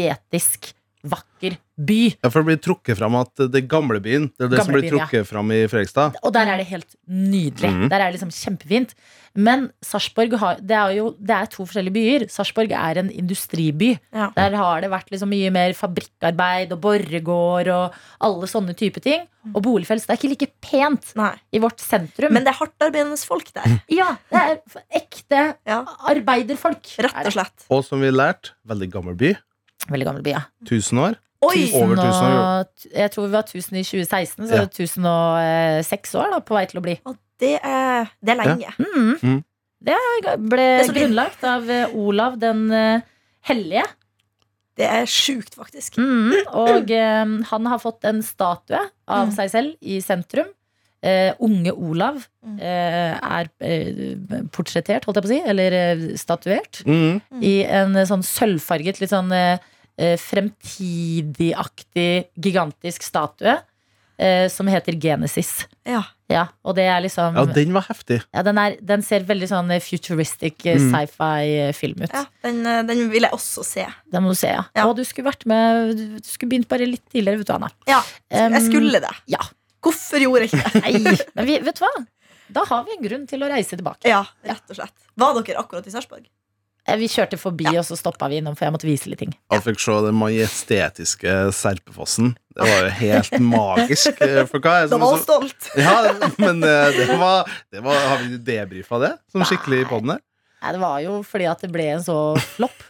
Speaker 2: estetisk vakker by.
Speaker 3: Ja, for det blir trukket fram at det er gamlebyen Det er det som blir
Speaker 2: Gamlebyen, ja.
Speaker 3: trukket fram i Fredrikstad.
Speaker 2: Og der er det helt nydelig.
Speaker 3: Mhm.
Speaker 2: Der er det liksom kjempefint. Men Sarpsborg har Det er jo det er to forskjellige byer. Sarpsborg er en industriby.
Speaker 5: Ja.
Speaker 2: Der har det vært liksom mye mer fabrikkarbeid og borregård og alle sånne type ting. Og boligfelt. Så det er ikke like pent
Speaker 5: Nei.
Speaker 2: i vårt sentrum.
Speaker 5: Men det er hardtarbeidende folk
Speaker 3: Mm.
Speaker 5: der.
Speaker 2: ja, det er f- ekte
Speaker 5: Ja.
Speaker 2: arbeiderfolk.
Speaker 5: Rett
Speaker 2: Er
Speaker 5: og slett.
Speaker 3: Og som vi lærte, veldig gammel by.
Speaker 2: det. Veldig gammel by, ja.
Speaker 3: Tusen år.
Speaker 5: Oi!
Speaker 3: Tusen. Over 1000 år.
Speaker 2: og, jeg tror vi var 1000 i 2016, så
Speaker 3: Ja.
Speaker 2: 1006 eh, år da, på vei til å bli.
Speaker 5: Og det er, det er lenge.
Speaker 2: Mm.
Speaker 3: Mm.
Speaker 2: Det ga- ble
Speaker 5: Det er så fint.
Speaker 2: grunnlagt av eh, Olav den eh, hellige.
Speaker 5: Det er sjukt, faktisk.
Speaker 2: Mm. Og eh, han har fått en statue av
Speaker 5: Mm.
Speaker 2: seg selv i sentrum. Eh, unge Olav
Speaker 5: Mm.
Speaker 2: eh, er eh, portrettert, holdt jeg på å si, eller eh, statuert,
Speaker 3: Mm.
Speaker 2: i en eh, sånn sølvfarget, litt sånn eh, eh, fremtidigaktig, gigantisk statue. eh, som heter Genesis.
Speaker 5: Ja.
Speaker 2: Ja, og det er liksom
Speaker 3: Ja, den var heftig.
Speaker 2: ja, den, er, den ser veldig sånn futuristic eh,
Speaker 3: Mm.
Speaker 2: sci-fi-film ut.
Speaker 5: ja den, eh, den vil jeg også se.
Speaker 2: Den må du se, ja.
Speaker 5: Ja.
Speaker 2: Og du skulle vært med Du du skulle begynt bare litt tidligere, vet du, Anna.
Speaker 5: Ja,
Speaker 2: Em,
Speaker 5: jeg skulle det.
Speaker 2: ja.
Speaker 5: Hvorfor gjorde jeg ikke
Speaker 2: (laughs)
Speaker 5: det?
Speaker 2: Nei, men vi, vet du hva? Da har vi en grunn til å reise tilbake.
Speaker 5: Ja, rett og slett. Var dere akkurat i Sarpsborg?
Speaker 2: Eh, Vi kjørte forbi,
Speaker 5: Ja.
Speaker 2: og så stoppa vi innom, for jeg måtte vise litt ting.
Speaker 3: Jeg fikk se den majestetiske Serpefossen. Det var jo helt magisk. eh, For hva er det
Speaker 5: Da
Speaker 3: som
Speaker 5: var
Speaker 3: er
Speaker 5: hun
Speaker 3: så
Speaker 5: stolt.
Speaker 3: Ja, men eh, det var, det var Har vi debrifa det? Som skikkelig i poden her?
Speaker 2: Nei, det var jo fordi at det ble en så flopp.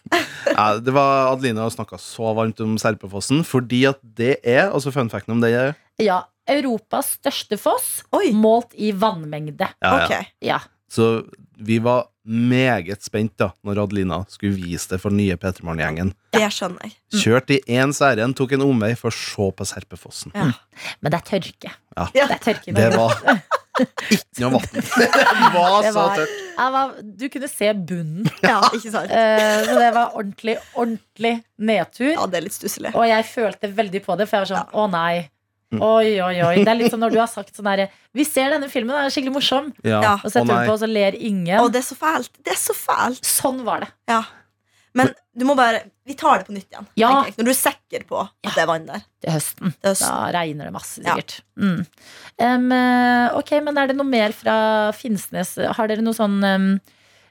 Speaker 3: Ja, det var Adelina snakka så varmt om Serpefossen, fordi at det er Altså fun facten om det er
Speaker 2: (laughs) Ja, Europas største foss
Speaker 5: Oi,
Speaker 2: målt i vannmengde.
Speaker 3: ja, ja.
Speaker 5: ok.
Speaker 2: Ja.
Speaker 3: Så vi var meget spent da Når Adelina skulle vise det for nye Petermann-gjengen.
Speaker 5: Det skjønner jeg.
Speaker 2: Mm.
Speaker 3: Kjørt i ens ærend, tok en omvei for å se på Serpefossen.
Speaker 2: Mm.
Speaker 5: Ja.
Speaker 2: Men det er tørke.
Speaker 3: Ja.
Speaker 5: Ja.
Speaker 2: Det er tørke i
Speaker 3: Det
Speaker 2: Norge.
Speaker 3: var
Speaker 2: (laughs)
Speaker 3: ikke noe vann. Det var
Speaker 2: Det
Speaker 3: så
Speaker 2: var-
Speaker 3: tørt.
Speaker 2: Ja, hva- Du kunne se bunnen.
Speaker 5: (laughs)
Speaker 2: (laughs)
Speaker 5: Ja, ikke sant?
Speaker 2: Eh, Så det var ordentlig, ordentlig nedtur.
Speaker 5: Ja, det er litt stusslig.
Speaker 2: Og jeg følte veldig på det, for jeg var sånn å nei.
Speaker 3: Mm.
Speaker 2: Oi, oi, oi. Det er litt som når du har sagt sånn herre Vi ser denne filmen, den er skikkelig morsom.
Speaker 5: Ja.
Speaker 2: Og setter
Speaker 3: nei.
Speaker 2: du på, og så ler
Speaker 5: Å,
Speaker 2: ingen.
Speaker 5: det er så fælt. Det er så fælt.
Speaker 2: Sånn var det.
Speaker 5: Ja. Men du må bare Vi tar det på nytt igjen.
Speaker 2: Ja.
Speaker 5: tenker jeg. Når du er sikker på at det er vann der.
Speaker 2: Til høsten.
Speaker 5: Det er
Speaker 2: Da
Speaker 5: s-
Speaker 2: regner det masse,
Speaker 5: Ja.
Speaker 2: sikkert. Mm. Em, eh, ok, men er det noe mer fra Finnsnes? Har dere noe sånn em,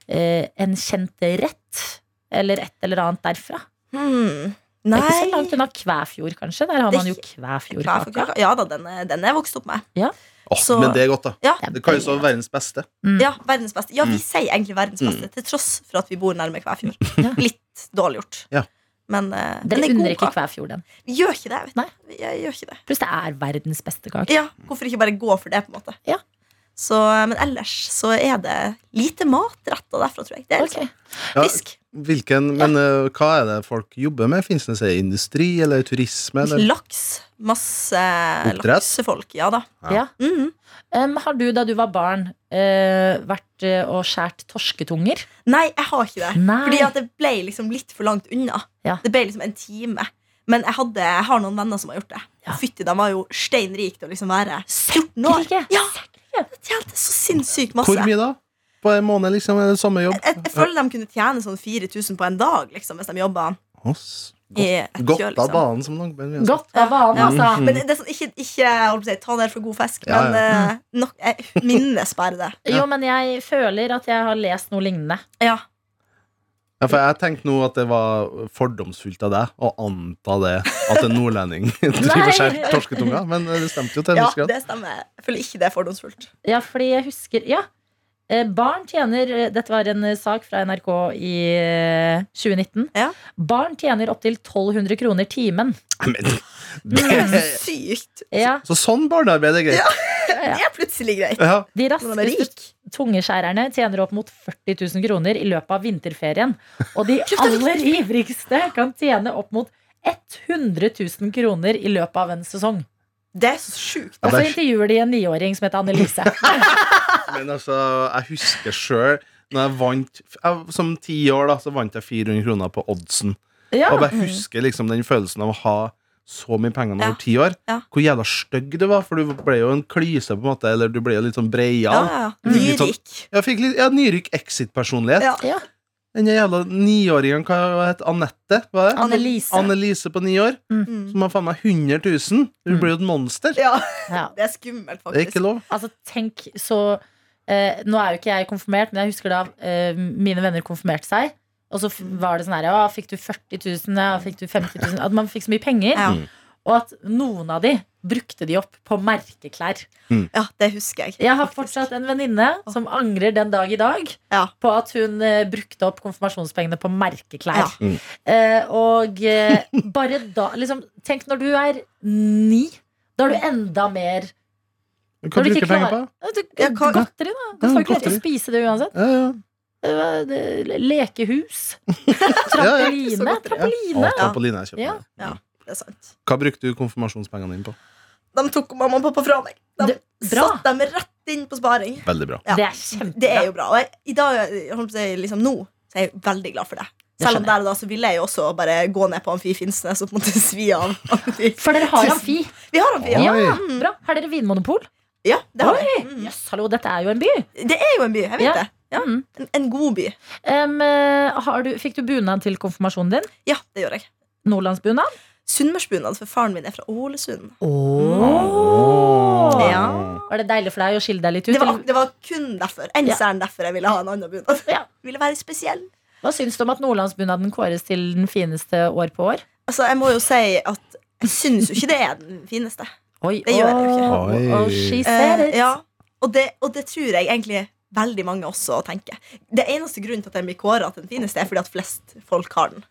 Speaker 2: eh, en kjent rett? Eller et eller annet derfra?
Speaker 5: hmm.
Speaker 2: Det
Speaker 5: Nei.
Speaker 2: er ikke så langt unna Kvæfjord, kanskje? Der har
Speaker 5: Det er
Speaker 2: man jo
Speaker 5: Hva for
Speaker 2: Kvæfjordkaka.
Speaker 5: kaka? Ja da, den er, den er jeg vokst opp med.
Speaker 3: Åh,
Speaker 5: Så-
Speaker 3: men det er godt, da.
Speaker 5: Ja,
Speaker 2: Det er
Speaker 3: Det kan jo stå verdens beste.
Speaker 5: ja verdens beste. Ja, vi
Speaker 3: Mm.
Speaker 5: sier egentlig verdens beste, til tross for at vi bor nærme
Speaker 3: (laughs)
Speaker 5: Kvæfjord.
Speaker 2: Ja.
Speaker 5: Litt dårlig gjort.
Speaker 3: Ja.
Speaker 5: Men eh, den
Speaker 2: Dere
Speaker 5: er god
Speaker 2: unner ikke
Speaker 5: kake.
Speaker 2: Kvæfjord den.
Speaker 5: Vi gjør ikke det.
Speaker 2: Nei.
Speaker 5: Vet du. Jeg gjør ikke det.
Speaker 2: Pluss det er verdens beste kake.
Speaker 5: Ja, hvorfor ikke bare gå for det, på en måte.
Speaker 2: Ja.
Speaker 5: Så, eh, men ellers så er det lite matretter derfra, tror jeg. Det er
Speaker 2: Ok.
Speaker 3: Ja,
Speaker 5: liksom fisk.
Speaker 3: hvilken, men eh, hva er det folk jobber med? Finnes det seg industri eller turisme? Eller?
Speaker 5: Laks. Masse
Speaker 3: eh, Oppdrett?
Speaker 5: laksefolk. Ja da.
Speaker 3: Ja.
Speaker 2: Ja.
Speaker 5: Mhm.
Speaker 2: Um, har du da du var barn eh, vært eh, og skjært torsketunger?
Speaker 5: Nei, jeg har ikke det.
Speaker 2: Nei.
Speaker 5: Fordi at det ble liksom litt for langt unna.
Speaker 2: Ja.
Speaker 5: Det ble liksom en time. Men jeg, hadde, jeg har noen venner som har gjort det.
Speaker 2: Ja.
Speaker 5: Fytti, de var jo stein rike til å liksom være 14 år.
Speaker 2: Ikke?
Speaker 5: Ja, De tjente så sinnssykt masse.
Speaker 3: Hvor mye da? På en måned, liksom? Er det samme jobb?
Speaker 5: Jeg, jeg føler de kunne tjene sånn 4000 på en dag liksom, hvis de jobba
Speaker 3: Oss.
Speaker 5: i et
Speaker 3: Godt
Speaker 5: kjør.
Speaker 3: av
Speaker 5: Liksom.
Speaker 3: banen som langbein. altså.
Speaker 2: Godt av banen, altså.
Speaker 5: Men det er sånn, ikke, ikke jeg holdt på å si, ta det her for god fisk,
Speaker 3: Ja,
Speaker 5: men eh, nok, jeg minnes bare det.
Speaker 2: Jo, men jeg føler at jeg har lest noe lignende.
Speaker 5: Ja,
Speaker 3: Ja, for jeg tenkte nå at det var fordomsfullt av deg å anta det at en nordlending (laughs) driver og skjærer torsketunga, men det stemte jo til en
Speaker 5: ja
Speaker 3: viss grad.
Speaker 5: det stemmer. Jeg føler ikke det er
Speaker 3: (laughs)
Speaker 5: fordomsfullt.
Speaker 2: Ja, fordi jeg husker Ja. Eh, Barn tjener eh, Dette var en eh, sak fra NRK i eh, 2019.
Speaker 5: Ja.
Speaker 2: Barn tjener opptil 1200 kroner timen.
Speaker 3: Men,
Speaker 5: Sykt.
Speaker 2: Ja,
Speaker 3: så sånn barnearbeid er greit.
Speaker 5: Det er plutselig greit.
Speaker 3: Ja.
Speaker 2: De
Speaker 5: Men han er
Speaker 2: raskeste tungeskjærerne tjener opp mot 40 000 kroner i løpet av vinterferien. Og
Speaker 5: (laughs)
Speaker 2: de aller ivrigste kan tjene opp mot 100 000 kroner i løpet av en sesong.
Speaker 5: Det er så sjukt.
Speaker 2: Og så
Speaker 3: det er-
Speaker 2: intervjuer de en niåring som heter Annelise.
Speaker 3: Men altså, jeg husker sjøl når jeg vant jeg, Som ti år da, så vant jeg 400 kroner på oddsen.
Speaker 2: Ja,
Speaker 3: Og jeg bare husker liksom den følelsen av å ha så mye penger når du
Speaker 5: Ja.
Speaker 3: var ti år.
Speaker 5: Ja.
Speaker 3: Hvor jævla stygg du var, for du ble jo en klyse, på en måte. Eller du ble jo litt sånn
Speaker 5: Ja,
Speaker 3: breial.
Speaker 5: ja.
Speaker 3: Litt sånn-
Speaker 5: Nyrik.
Speaker 3: Jeg fikk litt jeg hadde nyrykk exit-personlighet.
Speaker 5: Ja.
Speaker 2: ja.
Speaker 3: Den jævla niåringen, hva het Anette? Var det?
Speaker 2: Annelise.
Speaker 3: Annelise på ni år,
Speaker 5: Mm.
Speaker 3: som har faen meg 100 000. Du
Speaker 2: Mm.
Speaker 3: blir jo et monster.
Speaker 5: ja,
Speaker 2: Ja.
Speaker 5: det er skummelt,
Speaker 3: Det er ikke
Speaker 5: faktisk.
Speaker 3: lov.
Speaker 2: Altså, tenk så eh, Nå er jo ikke jeg konfirmert, men jeg husker da eh, mine venner konfirmerte seg. Og så f- var det sånn her Ja, fikk du 40 000? Ja, fikk du 50 000? At man fikk så mye penger.
Speaker 5: Ja.
Speaker 2: Og at noen av de brukte de opp på merkeklær.
Speaker 5: ja, det husker jeg.
Speaker 2: Jeg har
Speaker 5: faktisk.
Speaker 2: fortsatt en venninne som angrer den dag i dag
Speaker 5: Ja.
Speaker 2: på at hun eh, brukte opp konfirmasjonspengene på merkeklær.
Speaker 5: Ja.
Speaker 3: Mm.
Speaker 2: Eh, og eh, bare da liksom, Tenk når du er ni. Da er du enda mer
Speaker 3: Hva
Speaker 2: Når du ikke
Speaker 3: bruker du penger på?
Speaker 2: klarer- Ja, du-
Speaker 5: Ja, hva-
Speaker 2: Godteri, da. Du får jo ikke lov til
Speaker 3: godteri.
Speaker 2: å spise det uansett.
Speaker 3: Ja, ja.
Speaker 2: Det var- det- Lekehus.
Speaker 3: Ja, ja.
Speaker 5: Så
Speaker 2: Trampoline.
Speaker 5: godt, ja.
Speaker 2: Trampoline.
Speaker 3: Å, trampoline, jeg kjøper
Speaker 2: Ja.
Speaker 3: det.
Speaker 5: Ja, det er sant.
Speaker 3: Hva brukte du konfirmasjonspengene dine på?
Speaker 5: De tok mamma og pappa fra meg. De
Speaker 2: Det- bra.
Speaker 5: satt dem rett inn på sparing.
Speaker 3: Veldig bra.
Speaker 5: Ja.
Speaker 2: Det er
Speaker 5: Det er
Speaker 2: kjempebra.
Speaker 5: jo bra. Og jeg, i dag, jeg holdt på å si, liksom nå, så er jeg veldig glad for det. Selv om der og da så ville jeg jo også bare gå ned på Amfi Finnsnes og på en måte (laughs) svi av. Amfi.
Speaker 2: For dere har amfi.
Speaker 5: Vi har Amfi.
Speaker 2: Ja,
Speaker 5: Ja,
Speaker 3: Oi.
Speaker 2: bra. Har dere vinmonopol?
Speaker 5: ja det har vi. Mm.
Speaker 2: Jøss, hallo, dette er jo en by.
Speaker 5: Det er jo en by. Jeg vet
Speaker 2: Ja.
Speaker 5: det. Ja.
Speaker 2: Mm.
Speaker 5: En, en god by.
Speaker 2: Em, eh, har du, fikk du bunad til konfirmasjonen din?
Speaker 5: Ja, det gjør jeg.
Speaker 2: Nordlandsbunad?
Speaker 5: Sunnmørsbunad, for faren min er fra Ålesund.
Speaker 2: Oh.
Speaker 5: Ja.
Speaker 2: Var det deilig for deg å skille deg litt ut?
Speaker 5: Det var,
Speaker 2: eller-
Speaker 5: det var kun derfor. En
Speaker 2: Ja.
Speaker 5: særen derfor jeg ville ha en annen bunad.
Speaker 2: Ja.
Speaker 5: (laughs) Ville være spesiell.
Speaker 2: Hva syns du om at nordlandsbunaden kåres til den fineste år på år?
Speaker 5: Altså, jeg må jo si at jeg syns jo ikke det er den
Speaker 2: (laughs)
Speaker 5: fineste.
Speaker 2: Oi,
Speaker 5: Det gjør jeg jo
Speaker 3: ikke.
Speaker 2: oh,
Speaker 3: Oi.
Speaker 2: oh, she said
Speaker 5: Eh,
Speaker 2: it.
Speaker 5: ja. og, det, og det tror jeg egentlig veldig mange også tenker. Det eneste grunnen til at den blir kåra til den fineste, er fordi at flest folk har den.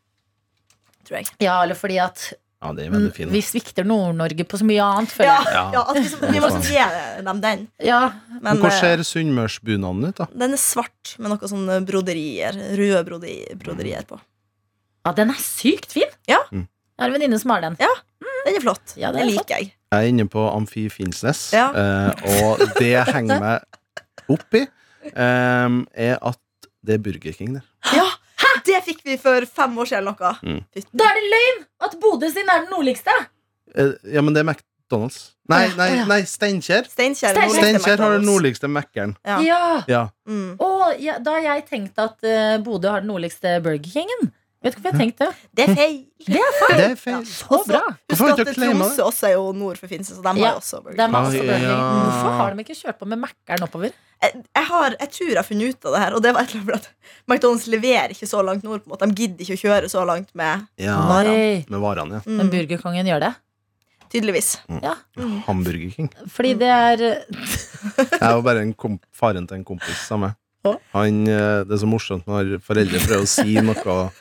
Speaker 5: Tror jeg.
Speaker 2: Ja, eller fordi at
Speaker 3: Ja, det er
Speaker 2: mm,
Speaker 3: veldig fint.
Speaker 2: vi svikter Nord-Norge på så mye annet. Føler
Speaker 5: Ja,
Speaker 2: jeg.
Speaker 3: Ja.
Speaker 5: ja at liksom, Vi må liksom gi dem den.
Speaker 2: Ja.
Speaker 5: Men,
Speaker 3: Men Hvordan
Speaker 5: eh,
Speaker 3: ser sunnmørsbunaden ut, da?
Speaker 5: den er svart med noen sånne broderier. Røde brode- broderier på.
Speaker 2: ja, den er sykt fin!
Speaker 5: Ja.
Speaker 3: Mm.
Speaker 2: Jeg har en venninne som har den.
Speaker 5: Den er flott.
Speaker 2: Ja, den
Speaker 5: det,
Speaker 2: er flott.
Speaker 5: liker jeg.
Speaker 3: Jeg er inne på Amfi Finnsnes,
Speaker 5: Ja.
Speaker 3: eh, og det jeg henger meg opp i, eh, er at det er Burger King der.
Speaker 5: Ja, Det fikk vi for fem år siden eller noe.
Speaker 3: Mm.
Speaker 5: Fytti.
Speaker 2: Da er det løgn at Bodø sin er den nordligste!
Speaker 3: Eh, ja, men det er McDonald's. Nei,
Speaker 2: Å, ja,
Speaker 3: nei,
Speaker 2: å, ja.
Speaker 3: nei Steinkjer.
Speaker 5: Steinkjer
Speaker 2: Steinkjer.
Speaker 5: nordligste
Speaker 3: Steinkjer har den
Speaker 5: McDonald's.
Speaker 3: nordligste Mækkern.
Speaker 5: Ja.
Speaker 3: Ja.
Speaker 5: Mm.
Speaker 2: Og ja, da har jeg tenkt at eh, Bodø har den nordligste Burger Kingen. Vet ikke hvorfor jeg tenkte det.
Speaker 5: Det er feil.
Speaker 3: Det er feil.
Speaker 2: Så bra!
Speaker 5: Husk
Speaker 3: Hvorfor har
Speaker 5: at
Speaker 3: ikke dere claima
Speaker 5: Tromsø også er jo nord for Finse, så
Speaker 2: Ja,
Speaker 5: de har jo også Burger
Speaker 2: Det er
Speaker 5: King.
Speaker 2: meg også
Speaker 3: Ah,
Speaker 2: Burger King.
Speaker 3: ja.
Speaker 2: Hvorfor har de ikke kjørt på med Mækkern oppover?
Speaker 5: Jeg, jeg, har, jeg tror jeg har funnet ut av det her, og det var et eller annet fordi at McDonald's leverer ikke så langt nord. på en måte De gidder ikke å kjøre så langt med
Speaker 3: Ja,
Speaker 2: Nei.
Speaker 3: med varene, ja.
Speaker 5: mm,
Speaker 2: Men Burger Kongen gjør det.
Speaker 5: Tydeligvis.
Speaker 3: Hamburger King.
Speaker 2: Fordi det er eh,
Speaker 3: Jeg var bare en komp faren til en kompis sammen.
Speaker 2: Å?
Speaker 3: Han, eh, det er så morsomt når foreldre prøver å si noe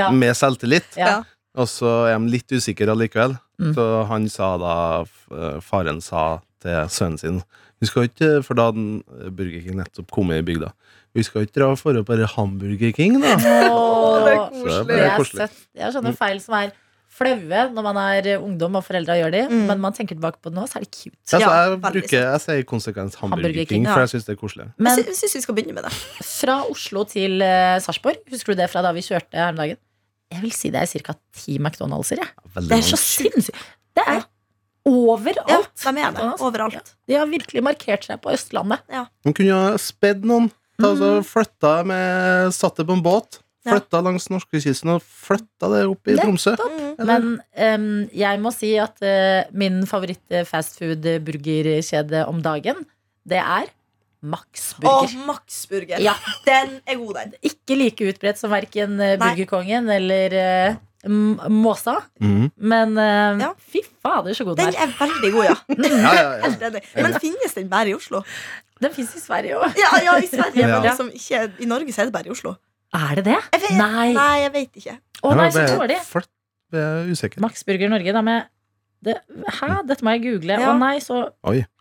Speaker 2: Ja.
Speaker 3: med selvtillit,
Speaker 2: Ja.
Speaker 3: og så er de litt usikre allikevel.
Speaker 2: Mm.
Speaker 3: Så han sa da f- eh, Faren sa til sønnen sin Vi skal ikke, For da hadde han, eh, Burger King nettopp kommet i bygda. Vi skal ikke dra for å bare Hamburger
Speaker 2: (laughs)
Speaker 3: King, da.
Speaker 2: Åh,
Speaker 5: det er
Speaker 3: Så
Speaker 2: Det
Speaker 3: det er
Speaker 2: er
Speaker 3: koselig.
Speaker 2: søtt. Det er sånne feil som er flaue når man er eh, ungdom og foreldra gjør de,
Speaker 5: Mm.
Speaker 2: men man tenker tilbake på det nå, så er det cute.
Speaker 3: Ja, så
Speaker 5: Ja,
Speaker 3: Altså, jeg,
Speaker 5: veldig
Speaker 3: bruker, jeg sier konsekvent Hamburger,
Speaker 2: Hamburger King,
Speaker 3: King, for
Speaker 5: ja.
Speaker 3: jeg syns det er koselig.
Speaker 2: Men
Speaker 5: jeg sy- syns vi skal begynne med det.
Speaker 2: fra Oslo til eh, Sarpsborg, husker du det fra da vi kjørte her om dagen? Jeg vil si det er ca. ti McDonald'ser. jeg.
Speaker 3: Veldig
Speaker 2: Det er så
Speaker 3: mange.
Speaker 2: sinnssykt! Det
Speaker 5: Ja.
Speaker 2: er
Speaker 5: Ja,
Speaker 2: overalt.
Speaker 5: de er det. Overalt.
Speaker 2: De har virkelig markert seg på Østlandet.
Speaker 3: Man kunne ha spedd noen. Ta, altså,
Speaker 2: Mm.
Speaker 3: flytta med Satt det på en båt.
Speaker 5: Ja.
Speaker 3: Flytta langs norskekysten og flytta det opp i Tromsø.
Speaker 5: Mm.
Speaker 3: Eller?
Speaker 2: Men em, jeg må si at eh, min favoritt-fastfood-burgerkjede om dagen, det er Max
Speaker 5: Og
Speaker 2: Burger.
Speaker 5: Max Burger.
Speaker 2: Ja.
Speaker 5: Den er god, den.
Speaker 2: Ikke like utbredt som verken eh,
Speaker 5: Nei.
Speaker 2: Burgerkongen eller eh, M- Måsa,
Speaker 3: Mhm.
Speaker 2: men eh,
Speaker 5: Ja.
Speaker 2: fy fader, så god
Speaker 5: Den
Speaker 2: den er.
Speaker 5: er veldig god, ja.
Speaker 3: Ja, ja, ja.
Speaker 5: Helt enig. Men finnes den bare i Oslo?
Speaker 2: Den fins i Sverige òg.
Speaker 5: Ja, ja i Sverige,
Speaker 3: Ja.
Speaker 5: men liksom ikke I Norge så er det bare i Oslo.
Speaker 2: Er det det?
Speaker 5: Jeg vet,
Speaker 2: Nei! Å
Speaker 5: Nei, jeg vet ikke.
Speaker 2: nei,
Speaker 3: Jeg
Speaker 2: så
Speaker 3: ble-
Speaker 2: dårlig.
Speaker 3: flytt- ble jeg usikker.
Speaker 2: Max Burger Norge, da med det, Hæ, dette må jeg google. Å
Speaker 5: Ja.
Speaker 2: nei, så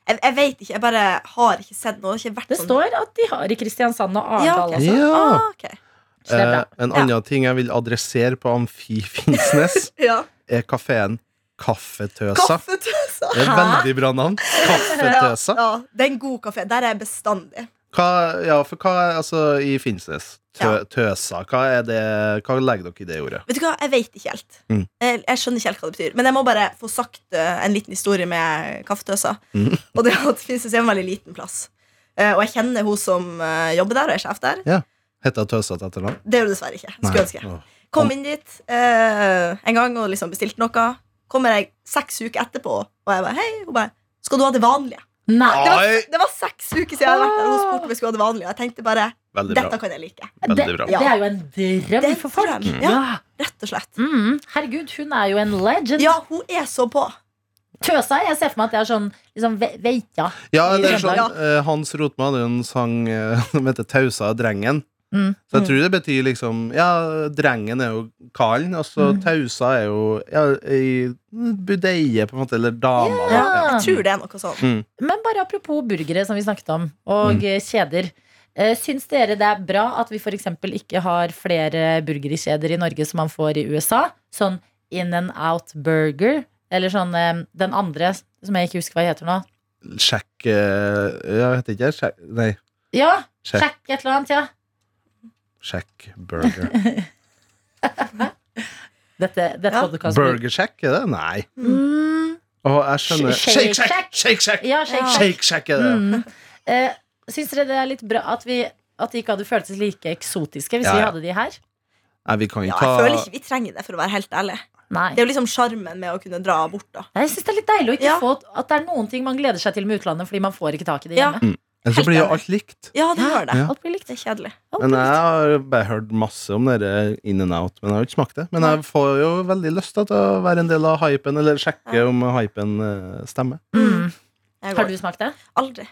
Speaker 5: Jeg, jeg vet ikke, jeg bare har ikke sett noe. Det, har ikke vært
Speaker 2: Det
Speaker 5: sånn.
Speaker 2: står at de har i Kristiansand og
Speaker 5: Ja,
Speaker 2: Arendal.
Speaker 5: ok,
Speaker 2: altså.
Speaker 5: så-
Speaker 3: Ja.
Speaker 5: Ah, ok.
Speaker 2: Så det er bra.
Speaker 3: Eh, en annen ting jeg vil adressere på Amfi (laughs) Finnsnes,
Speaker 5: ja.
Speaker 3: er kafeen Kaffetøsa.
Speaker 5: Kaffetøsa.
Speaker 3: Det er et
Speaker 2: Hæ?
Speaker 3: veldig bra navn. Kaffetøsa.
Speaker 5: Ja, det er en god kafé. Der er jeg bestandig.
Speaker 3: Hva, ja, for hva er altså i Finnsnes? Tø, tøsa, hva er det Hva legger dere i det ordet?
Speaker 5: Vet du hva, Jeg vet ikke helt.
Speaker 3: Mm.
Speaker 5: Jeg, jeg skjønner ikke helt hva det betyr. Men jeg må bare få sagt eh, en liten historie med kaffetøsa.
Speaker 3: Mm.
Speaker 5: (laughs) Og det er at Finnsnes er en veldig liten plass. Eh, og jeg kjenner hun som eh, jobber der, og er sjef der.
Speaker 3: Heter det Tøsa til etternavn?
Speaker 5: Det gjør hun dessverre ikke.
Speaker 3: Nei.
Speaker 5: Skulle ønske.
Speaker 3: Åh.
Speaker 5: Kom inn dit eh, en gang og liksom bestilte noe. Kommer jeg seks uker etterpå, og jeg bare Hei, hun bare Skal du ha det vanlige?
Speaker 2: Nei,
Speaker 5: Det var,
Speaker 3: Oi.
Speaker 5: det var seks uker siden jeg hadde vært der, og hun spurte om jeg skulle ha det vanlige. Jeg tenkte bare
Speaker 3: Veldig bra.
Speaker 5: Dette kan jeg like.
Speaker 2: det,
Speaker 3: Veldig bra.
Speaker 2: det er jo en
Speaker 5: Det
Speaker 2: drøm
Speaker 5: er
Speaker 2: for folk.
Speaker 5: drøm, ja.
Speaker 2: Ja.
Speaker 5: Rett og slett.
Speaker 2: Mm, herregud, hun er jo en legend.
Speaker 5: Ja, hun er så på.
Speaker 2: Tøsa, jeg ser for meg at det er sånn liksom, ve- veita.
Speaker 3: Ja, eller
Speaker 2: I
Speaker 3: sånn,
Speaker 2: Trøndelag.
Speaker 3: eh, Hans Rotme hadde jo en sang eh, (laughs) som heter 'Tausa og drengen'.
Speaker 2: Mm.
Speaker 3: Så jeg tror det betyr liksom Ja, drengen er jo karen, og så
Speaker 2: Mm.
Speaker 3: tausa er jo ja, ei budeie, på en måte, eller dama. da. Ja.
Speaker 2: Ja.
Speaker 5: Jeg tror det er noe
Speaker 3: Mm.
Speaker 5: sånn.
Speaker 2: Men bare apropos burgere, som vi snakket om, og eh, kjeder. Eh, Syns dere det er bra at vi f.eks. ikke har flere burgerkjeder i Norge som man får i USA? Sånn In and Out Burger, eller sånn eh, den andre som jeg ikke husker hva heter nå.
Speaker 3: Sjekk eh, Ja, heter ikke det? Sjekk, nei,
Speaker 2: Ja,
Speaker 3: sjekk,
Speaker 2: sjekk et eller annet, ja. (laughs)
Speaker 3: sjekk burger.
Speaker 2: Dette, dette
Speaker 5: Ja.
Speaker 2: podcasten-
Speaker 3: Burger Shack, er det? Nei.
Speaker 2: Mm,
Speaker 3: Å, jeg skjønner.
Speaker 2: Sh- Shake
Speaker 3: Shake
Speaker 2: Shack!
Speaker 3: Shack! Shake Shack!
Speaker 2: ja, shake,
Speaker 5: Ja.
Speaker 2: shake.
Speaker 3: Shake Shack er det.
Speaker 2: Mm. Eh, syns dere det er litt bra at vi at de ikke hadde føltes like eksotiske hvis
Speaker 3: Ja,
Speaker 2: vi
Speaker 3: ja.
Speaker 2: hadde de her?
Speaker 3: Nei, vi kan
Speaker 5: Ja,
Speaker 3: ikke
Speaker 5: jeg føler
Speaker 3: ta
Speaker 5: ikke vi trenger det, for å være helt ærlig.
Speaker 2: Nei.
Speaker 5: Det er jo liksom sjarmen med å kunne dra bort, da.
Speaker 2: Nei, jeg syns det er litt deilig å ikke
Speaker 5: Ja.
Speaker 2: få at det er noen ting man gleder seg til med utlandet, fordi man får ikke tak i det
Speaker 5: Ja.
Speaker 2: hjemme.
Speaker 3: Ellers så blir jo alt likt.
Speaker 5: Ja, det gjør det.
Speaker 3: Ja.
Speaker 2: Alt blir likt.
Speaker 5: Det er kjedelig.
Speaker 2: Alt
Speaker 3: Men eh,
Speaker 2: blir
Speaker 3: jeg
Speaker 2: likt.
Speaker 3: har bare hørt masse om dere in and out, men jeg har ikke smakt det. Men jeg får jo veldig lyst til å være en del av hypen, eller sjekke om hypen eh, stemmer.
Speaker 2: Mm.
Speaker 5: Jeg
Speaker 2: Har
Speaker 5: går
Speaker 2: du smakt det?
Speaker 5: aldri.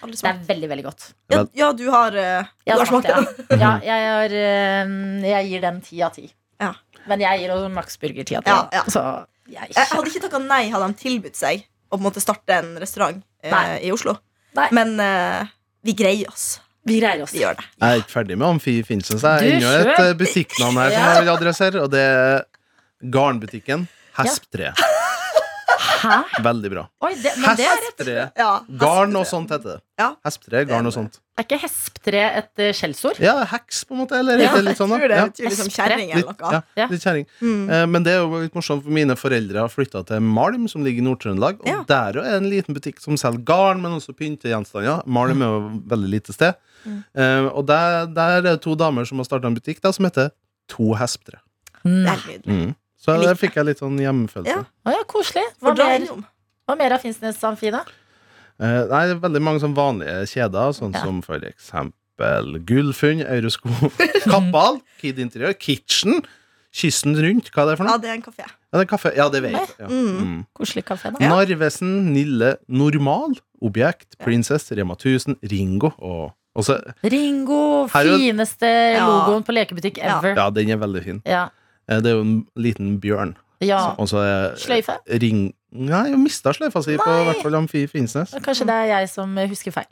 Speaker 5: Aldri
Speaker 2: Det er
Speaker 5: smakt.
Speaker 2: veldig, veldig godt.
Speaker 5: Ja, ja, du har, eh, du
Speaker 2: Jeg
Speaker 5: har smakt det.
Speaker 2: det. Ja, jeg, har, eh, jeg gir den ti av ti.
Speaker 5: Ja.
Speaker 2: Men jeg gir også Max Burger ti av ti.
Speaker 5: Ja, Eh, ja.
Speaker 2: Så jeg
Speaker 5: Jeg hadde ikke takka nei hadde de tilbudt seg å på en måte starte en restaurant eh,
Speaker 2: Nei.
Speaker 5: i Oslo.
Speaker 2: Nei.
Speaker 5: Men eh, vi greier oss.
Speaker 2: Vi greier oss.
Speaker 5: Vi gjør det.
Speaker 3: Jeg er ikke ferdig med Amfi Finnsens. Jeg
Speaker 2: Du
Speaker 3: har ennå et
Speaker 2: sjøl.
Speaker 3: eh, butikknavn her som jeg vil adressere, og det er Garnbutikken Hesptre.
Speaker 2: Hæ?
Speaker 3: Veldig bra.
Speaker 2: Oi, det, men det er, et,
Speaker 3: Hesptre.
Speaker 5: Ja,
Speaker 3: Garn og sånt heter det.
Speaker 5: Ja.
Speaker 3: Hesptre, garn og sånt.
Speaker 2: er ikke hesptre et eh, skjellsord?
Speaker 3: Ja, heks, på en måte. Eller
Speaker 2: Ja,
Speaker 3: heter det litt sånn,
Speaker 5: Jeg tror
Speaker 3: da.
Speaker 5: det
Speaker 3: Ja.
Speaker 5: betyr liksom
Speaker 2: Hespre.
Speaker 5: kjerring eller
Speaker 3: Litt,
Speaker 5: noe.
Speaker 2: Ja.
Speaker 3: ja, litt kjerring.
Speaker 5: Mm.
Speaker 3: Eh, Men det er jo litt morsomt, for mine foreldre har flytta til Malm, som ligger i Nord-Trøndelag. Og
Speaker 5: Ja.
Speaker 3: der er det en liten butikk som selger garn, men også pyntegjenstander. Malm er
Speaker 5: Mm.
Speaker 3: jo et veldig lite sted. Eh, og der, der er det to damer som har starta en butikk da, som heter To Hesptre.
Speaker 5: Det
Speaker 2: Mm.
Speaker 5: er nydelig.
Speaker 3: Mm. Så
Speaker 5: Jeg liker
Speaker 3: der fikk jeg litt sånn hjemmefølelse.
Speaker 5: Ja.
Speaker 2: Å ja, koselig. Hva
Speaker 5: For da
Speaker 2: mer,
Speaker 5: innom.
Speaker 2: hva mer av Finnsnes Amfina?
Speaker 3: Eh, nei, det er veldig mange sånn vanlige kjeder, sånn
Speaker 2: Ja.
Speaker 3: som for eksempel Gullfunn, Eurosko, (laughs) Kappal, Kid Interiør, Kitchen, Kysten rundt, hva er det for
Speaker 5: Ja,
Speaker 3: noe?
Speaker 5: det er en kafé.
Speaker 3: Ja, det er kaffe. Ja, det vet jeg. Ja.
Speaker 5: Mm.
Speaker 3: Mm.
Speaker 2: Koselig kafé, da.
Speaker 3: Narvesen, Nille, Normal, Objekt,
Speaker 5: Ja.
Speaker 3: Princess, Rema 1000, Ringo og og så,
Speaker 2: Ringo,
Speaker 3: Her er jo-
Speaker 2: fineste
Speaker 5: Ja.
Speaker 2: logoen på lekebutikk
Speaker 5: Ja.
Speaker 2: ever.
Speaker 3: Ja, den er veldig fin.
Speaker 2: Ja.
Speaker 3: Eh, Det er jo en liten bjørn.
Speaker 2: ja.
Speaker 3: Og så er
Speaker 2: Sløyfe?
Speaker 3: Ring... Nei, jeg mista sløyfa si på i hvert fall Amfi Finnsnes.
Speaker 2: Kanskje det er jeg som husker feil.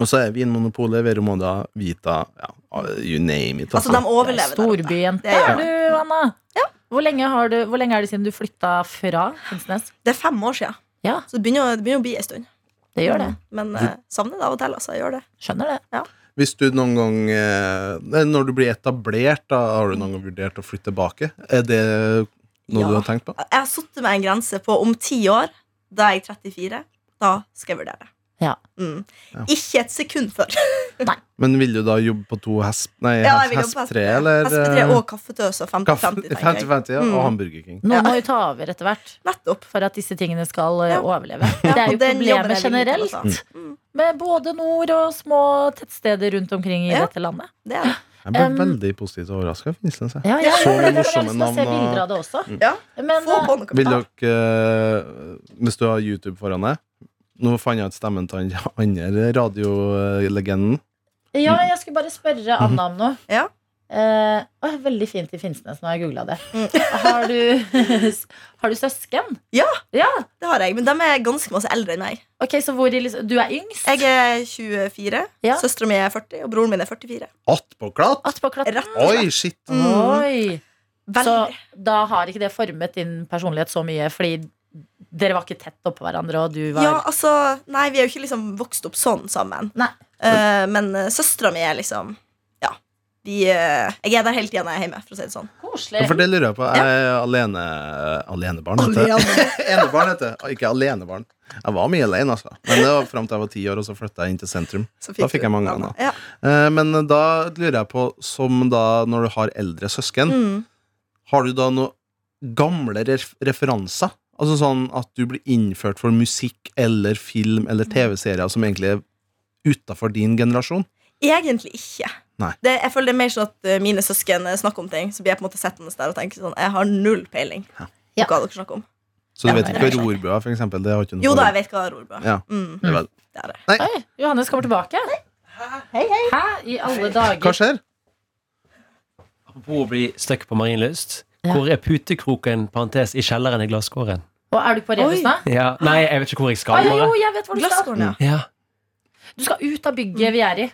Speaker 3: Og så er Vinmonopolet, Veromoda, Vita ja, You name it.
Speaker 5: Altså, de overlever der ute.
Speaker 2: Storbyjente
Speaker 5: Det gjør
Speaker 2: er du, Anna. Hvor, lenge har du, hvor lenge er det siden du flytta fra Finnsnes?
Speaker 5: Det er fem år siden.
Speaker 2: Ja.
Speaker 5: Så det begynner, å- det begynner å bli en stund.
Speaker 2: Det gjør det.
Speaker 5: Men eh, savner det av og til. Altså, jeg gjør det.
Speaker 2: Mm, Skjønner det.
Speaker 3: Hvis du noen gang eh, nei, Når du blir etablert, da har du noen gang vurdert å flytte tilbake? Er det noe
Speaker 5: Ja.
Speaker 3: du har tenkt på?
Speaker 5: Jeg har satt meg en grense på om ti år, da er jeg 34, da skal jeg vurdere.
Speaker 2: Ja.
Speaker 5: Mm.
Speaker 3: Ja.
Speaker 5: Ikke et sekund før.
Speaker 3: Men vil du da jobbe på to hesp... Nei,
Speaker 5: Ja,
Speaker 3: hes-
Speaker 5: jeg vil jo på
Speaker 3: hespetre, eller?
Speaker 5: Hespetre
Speaker 3: eh,
Speaker 5: og kaffetøs og 50-50, tenker jeg.
Speaker 3: 50-50, ja.
Speaker 5: Mm.
Speaker 3: Og han Burger King.
Speaker 2: Noen
Speaker 5: Ja.
Speaker 2: må jo ta over etter hvert
Speaker 5: Nettopp.
Speaker 2: for at disse tingene skal eh,
Speaker 5: Ja.
Speaker 2: overleve. Det
Speaker 5: Ja,
Speaker 2: er jo
Speaker 5: og den jobben
Speaker 2: problemet
Speaker 5: er jeg villig til å ta.
Speaker 3: Mm.
Speaker 2: generelt med både nord og små tettsteder rundt omkring i
Speaker 5: Ja.
Speaker 2: dette landet.
Speaker 5: Det er det.
Speaker 3: Jeg ble
Speaker 2: Um,
Speaker 3: veldig positivt overraska. Ja.
Speaker 2: Ja,
Speaker 5: Ja,
Speaker 2: jeg,
Speaker 3: så
Speaker 2: gjorde det. jeg har
Speaker 3: morsomme
Speaker 2: lyst til å se
Speaker 3: navn og-
Speaker 2: bilder av det også.
Speaker 5: Ja.
Speaker 2: Men
Speaker 5: Få
Speaker 2: eh,
Speaker 5: på noe
Speaker 3: Vil
Speaker 5: betalt.
Speaker 3: dere, eh, hvis du har YouTube foran deg Nå fant jeg ut stemmen til den andre radiolegenden.
Speaker 2: ja, jeg skulle bare spørre Anna om noe.
Speaker 5: Ja.
Speaker 2: Eh, å, veldig fint i Finnsnes. Nå har jeg googla det.
Speaker 5: Mm.
Speaker 2: Har du, (laughs) har du søsken?
Speaker 5: Det har jeg, men de er ganske masse eldre enn meg.
Speaker 2: Ok, så hvor i, liksom- Du er yngst?
Speaker 5: Jeg er 24,
Speaker 2: Ja.
Speaker 5: søstera mi er 40, og broren min er 44.
Speaker 3: Attpåklatt!
Speaker 2: Attpåklatt?
Speaker 5: Rett og slett.
Speaker 3: Oi, shit!
Speaker 5: Mm.
Speaker 2: Oi! Så
Speaker 5: Veldig.
Speaker 2: da har ikke det formet din personlighet så mye, fordi dere var ikke tett oppå hverandre, og du var
Speaker 5: Ja, altså, nei, vi er jo ikke liksom vokst opp sånn sammen.
Speaker 2: Nei.
Speaker 5: Eh, men uh, søstera mi er liksom Ja. Vi, eh, jeg er der hele tida når jeg er hjemme, for å si det sånn.
Speaker 2: koselig.
Speaker 3: Ja, For det lurer jeg på. Jeg er alene Alenebarn,
Speaker 5: (laughs)
Speaker 3: heter det. (laughs) Enebarn heter det. Ikke alenebarn. Jeg var mye alene, altså. Men det var fram til jeg var ti år, og så flytta jeg inn til sentrum.
Speaker 5: Så
Speaker 3: Da fikk
Speaker 5: du
Speaker 3: jeg mange
Speaker 5: navnet.
Speaker 3: anna.
Speaker 5: Ja.
Speaker 3: Eh, Men da lurer jeg på, som da når du har eldre søsken
Speaker 5: Mm.
Speaker 3: Har du da noen gamle ref referanser? Altså sånn at du blir innført for musikk eller film eller
Speaker 5: Mm.
Speaker 3: TV-serier som egentlig er utafor din generasjon?
Speaker 5: Egentlig ikke.
Speaker 3: Nei.
Speaker 5: Det, jeg føler det er mer sånn at eh, mine søsken eh, snakker om ting, så blir jeg på en måte sittende der og tenker sånn Jeg har null peiling på
Speaker 2: Ja.
Speaker 5: hva dere snakker om.
Speaker 3: Så du
Speaker 5: Ja,
Speaker 3: vet
Speaker 5: nei,
Speaker 3: ikke
Speaker 5: det er
Speaker 3: hva rorbua er, for eksempel? Det har ikke noe
Speaker 5: Jo da,
Speaker 3: forhold
Speaker 5: jeg vet hva rorbua er.
Speaker 3: Ja.
Speaker 5: Mm.
Speaker 3: til vel.
Speaker 5: Det er det.
Speaker 2: Oi, Johannes kommer tilbake. Hei, hei. Hæ? I alle
Speaker 3: Hva
Speaker 2: dager.
Speaker 3: skjer?
Speaker 5: Altså,
Speaker 4: Apropos å bli stuck på Marienlyst.
Speaker 2: Ja.
Speaker 4: Hvor er putekroken parentes, i kjelleren i glasskåren?
Speaker 2: Og er du på Rebus
Speaker 5: Oi.
Speaker 2: nå?
Speaker 4: Ja. Nei, jeg vet ikke hvor jeg
Speaker 2: Å,
Speaker 4: skal.
Speaker 2: jo, jo,
Speaker 4: Bare.
Speaker 2: jeg vet hvor du skal.
Speaker 5: Glasskåren, ja.
Speaker 4: Ja,
Speaker 2: Du skal ut av bygget vi er i.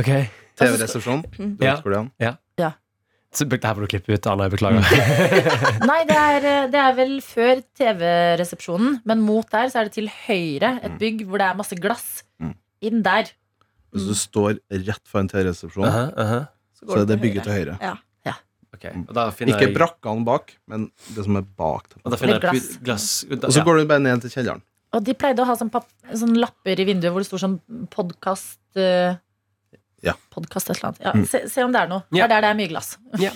Speaker 4: ok
Speaker 3: TV-resepsjon?
Speaker 5: Mm.
Speaker 3: Du
Speaker 4: Ja.
Speaker 3: vet hvor det er?
Speaker 4: Så, be- det her må du klippe ut, Anna. Jeg (laughs) beklager.
Speaker 2: Nei, det er, eh, det er vel før TV-resepsjonen, men mot der så er det til høyre et bygg hvor det er masse glass.
Speaker 3: Mm.
Speaker 2: Inn der.
Speaker 3: Hvis du Altså, står rett foran TV-resepsjonen,
Speaker 4: Aha, aha.
Speaker 5: Så går
Speaker 3: så er
Speaker 5: du
Speaker 3: det
Speaker 5: til
Speaker 3: bygget
Speaker 5: høyre.
Speaker 3: til høyre.
Speaker 5: Ja.
Speaker 2: Ja.
Speaker 4: Ok, Uh-huh, Ok, og da finner
Speaker 3: Ikke
Speaker 4: jeg-
Speaker 3: brakkene bak, men det som er bak. dem.
Speaker 4: Og da finner
Speaker 2: Litt
Speaker 4: jeg
Speaker 2: glass.
Speaker 4: ut glass. ut-
Speaker 3: Og så
Speaker 4: ja.
Speaker 3: går du bare ned til kjelleren.
Speaker 2: Og de pleide å ha sånn, papp, sånn lapper i vinduet hvor det står sånn podkast
Speaker 3: Ja.
Speaker 2: Podkast et eller annet. Ja,
Speaker 3: Mm.
Speaker 2: se, se om det er noe. Det
Speaker 4: Ja.
Speaker 2: er der det er mye glass.
Speaker 4: ja.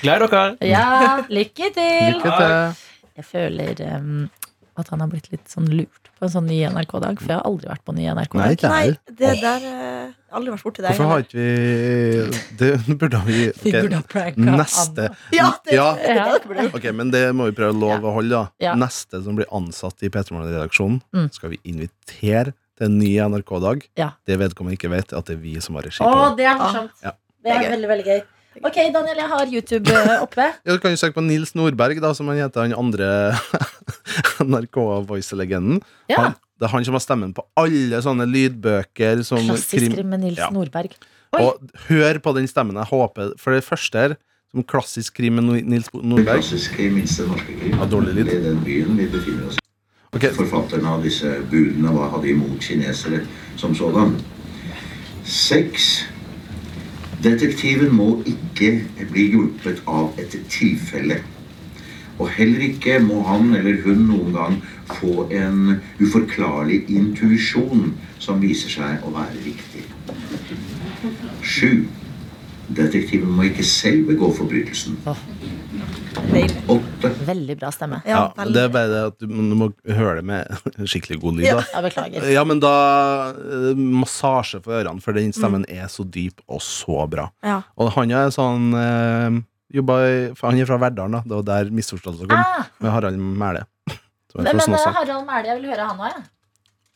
Speaker 4: Glad i dere.
Speaker 2: Ja, lykke til!
Speaker 3: Mm. Lykke til.
Speaker 2: Jeg føler em, at han har blitt litt sånn lurt på en sånn ny NRK-dag, for jeg har aldri vært på ny
Speaker 3: Nei,
Speaker 2: NRK-dag.
Speaker 3: ikke
Speaker 5: Nei,
Speaker 3: her.
Speaker 5: det der eh, Aldri vært borti det.
Speaker 3: Hvorfor har ikke
Speaker 5: egentlig.
Speaker 3: vi (laughs) Det burde vi
Speaker 2: Vi
Speaker 3: ok,
Speaker 2: burde ha pranket
Speaker 3: Neste.
Speaker 5: Ja, det,
Speaker 3: Ja.
Speaker 5: det, er det dere burde gjort.
Speaker 3: Ok, men det må vi prøve å love å holde, da.
Speaker 2: Ja.
Speaker 3: Neste som blir ansatt i P3morgen-redaksjonen,
Speaker 2: Mm.
Speaker 3: skal vi invitere til en ny NRK-dag.
Speaker 2: Ja.
Speaker 3: Det vedkommende ikke vet, er at det er vi som har regi
Speaker 2: Å,
Speaker 3: på det.
Speaker 2: det er morsomt.
Speaker 3: Ja.
Speaker 2: Ah, Det
Speaker 5: Det
Speaker 2: er
Speaker 5: er
Speaker 2: veldig, veldig gøy. Ok, Daniel, jeg har YouTube eh, oppe.
Speaker 3: Ja, du kan jo søke på Nils Nordberg, da, som han heter, han andre (laughs) NRK-voice-legenden.
Speaker 2: (laughs) Ja,
Speaker 3: Han- Det er han som har stemmen på alle sånne lydbøker som
Speaker 2: Klassisk
Speaker 3: krim.
Speaker 2: krim med Nils
Speaker 3: Ja.
Speaker 2: Nordberg. Oi.
Speaker 3: Og hør på den stemmen jeg håper For det første her, som klassisk krim med Nils Nordberg
Speaker 7: Klassisk krim, minst den norske krim.
Speaker 3: Ja, dårlig lyd.
Speaker 7: Det er den byen vi befinner oss i.
Speaker 3: Ok,
Speaker 7: Forfatterne av disse budene, hva hadde imot kinesere som sådan? Seks. Detektiven må ikke bli hjulpet av et tilfelle. Og heller ikke må han eller hun noen gang få en uforklarlig intuisjon som viser seg å være riktig. Sju. Detektiven må ikke selv begå forbrytelsen.
Speaker 5: Deilig.
Speaker 7: Åtte.
Speaker 2: Veldig bra stemme.
Speaker 5: Ja,
Speaker 3: ja,
Speaker 5: veldig.
Speaker 3: det er bare det at du, du må høre det med skikkelig god lyd
Speaker 5: Ja.
Speaker 3: da.
Speaker 2: Jeg beklager.
Speaker 3: Ja, men da eh, Massasje for ørene, for den stemmen
Speaker 2: Mm.
Speaker 3: er så dyp og så bra.
Speaker 5: Ja.
Speaker 3: Og han er sånn eh, jobba i, for Han er fra Verdalen, da. Det var der misforståelsen kom,
Speaker 2: Ah,
Speaker 3: med Harald
Speaker 2: (laughs)
Speaker 3: Mæle. Som
Speaker 2: men
Speaker 3: er
Speaker 2: men,
Speaker 3: fra
Speaker 2: eh,
Speaker 3: Snåsa.
Speaker 2: Harald Mæhle, jeg vil høre han òg, jeg.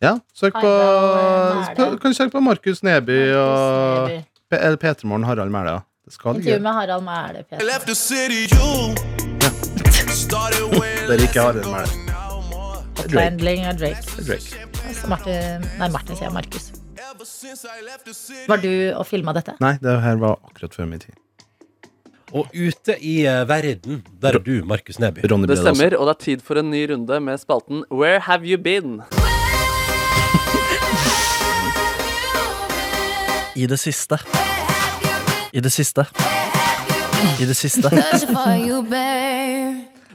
Speaker 3: Ja, søk på
Speaker 2: Harald Mæle.
Speaker 3: Kan du søke på Markus Neby og
Speaker 2: Neby.
Speaker 3: P- eller P3morgen Harald Mæle. ja. Det skal
Speaker 2: Intervju
Speaker 3: ligge
Speaker 2: med Harald Mæhle. Peter.
Speaker 8: left the city, you started
Speaker 3: Det er
Speaker 8: when
Speaker 3: ikke Harald Mæle.
Speaker 2: Trendling og Drake.
Speaker 3: Drake.
Speaker 2: Altså Martin, nei, Martin sier jeg, Markus.
Speaker 8: ever since I left the city.
Speaker 2: Var du og filma dette?
Speaker 3: Nei, det her var akkurat før min tid.
Speaker 9: Og ute i eh, verden, der er du, Markus Neby.
Speaker 3: Ronny
Speaker 10: Det
Speaker 3: ble det også.
Speaker 10: stemmer, og det er tid for en ny runde med spalten Where have you been?
Speaker 11: I det siste. I det siste. I det siste.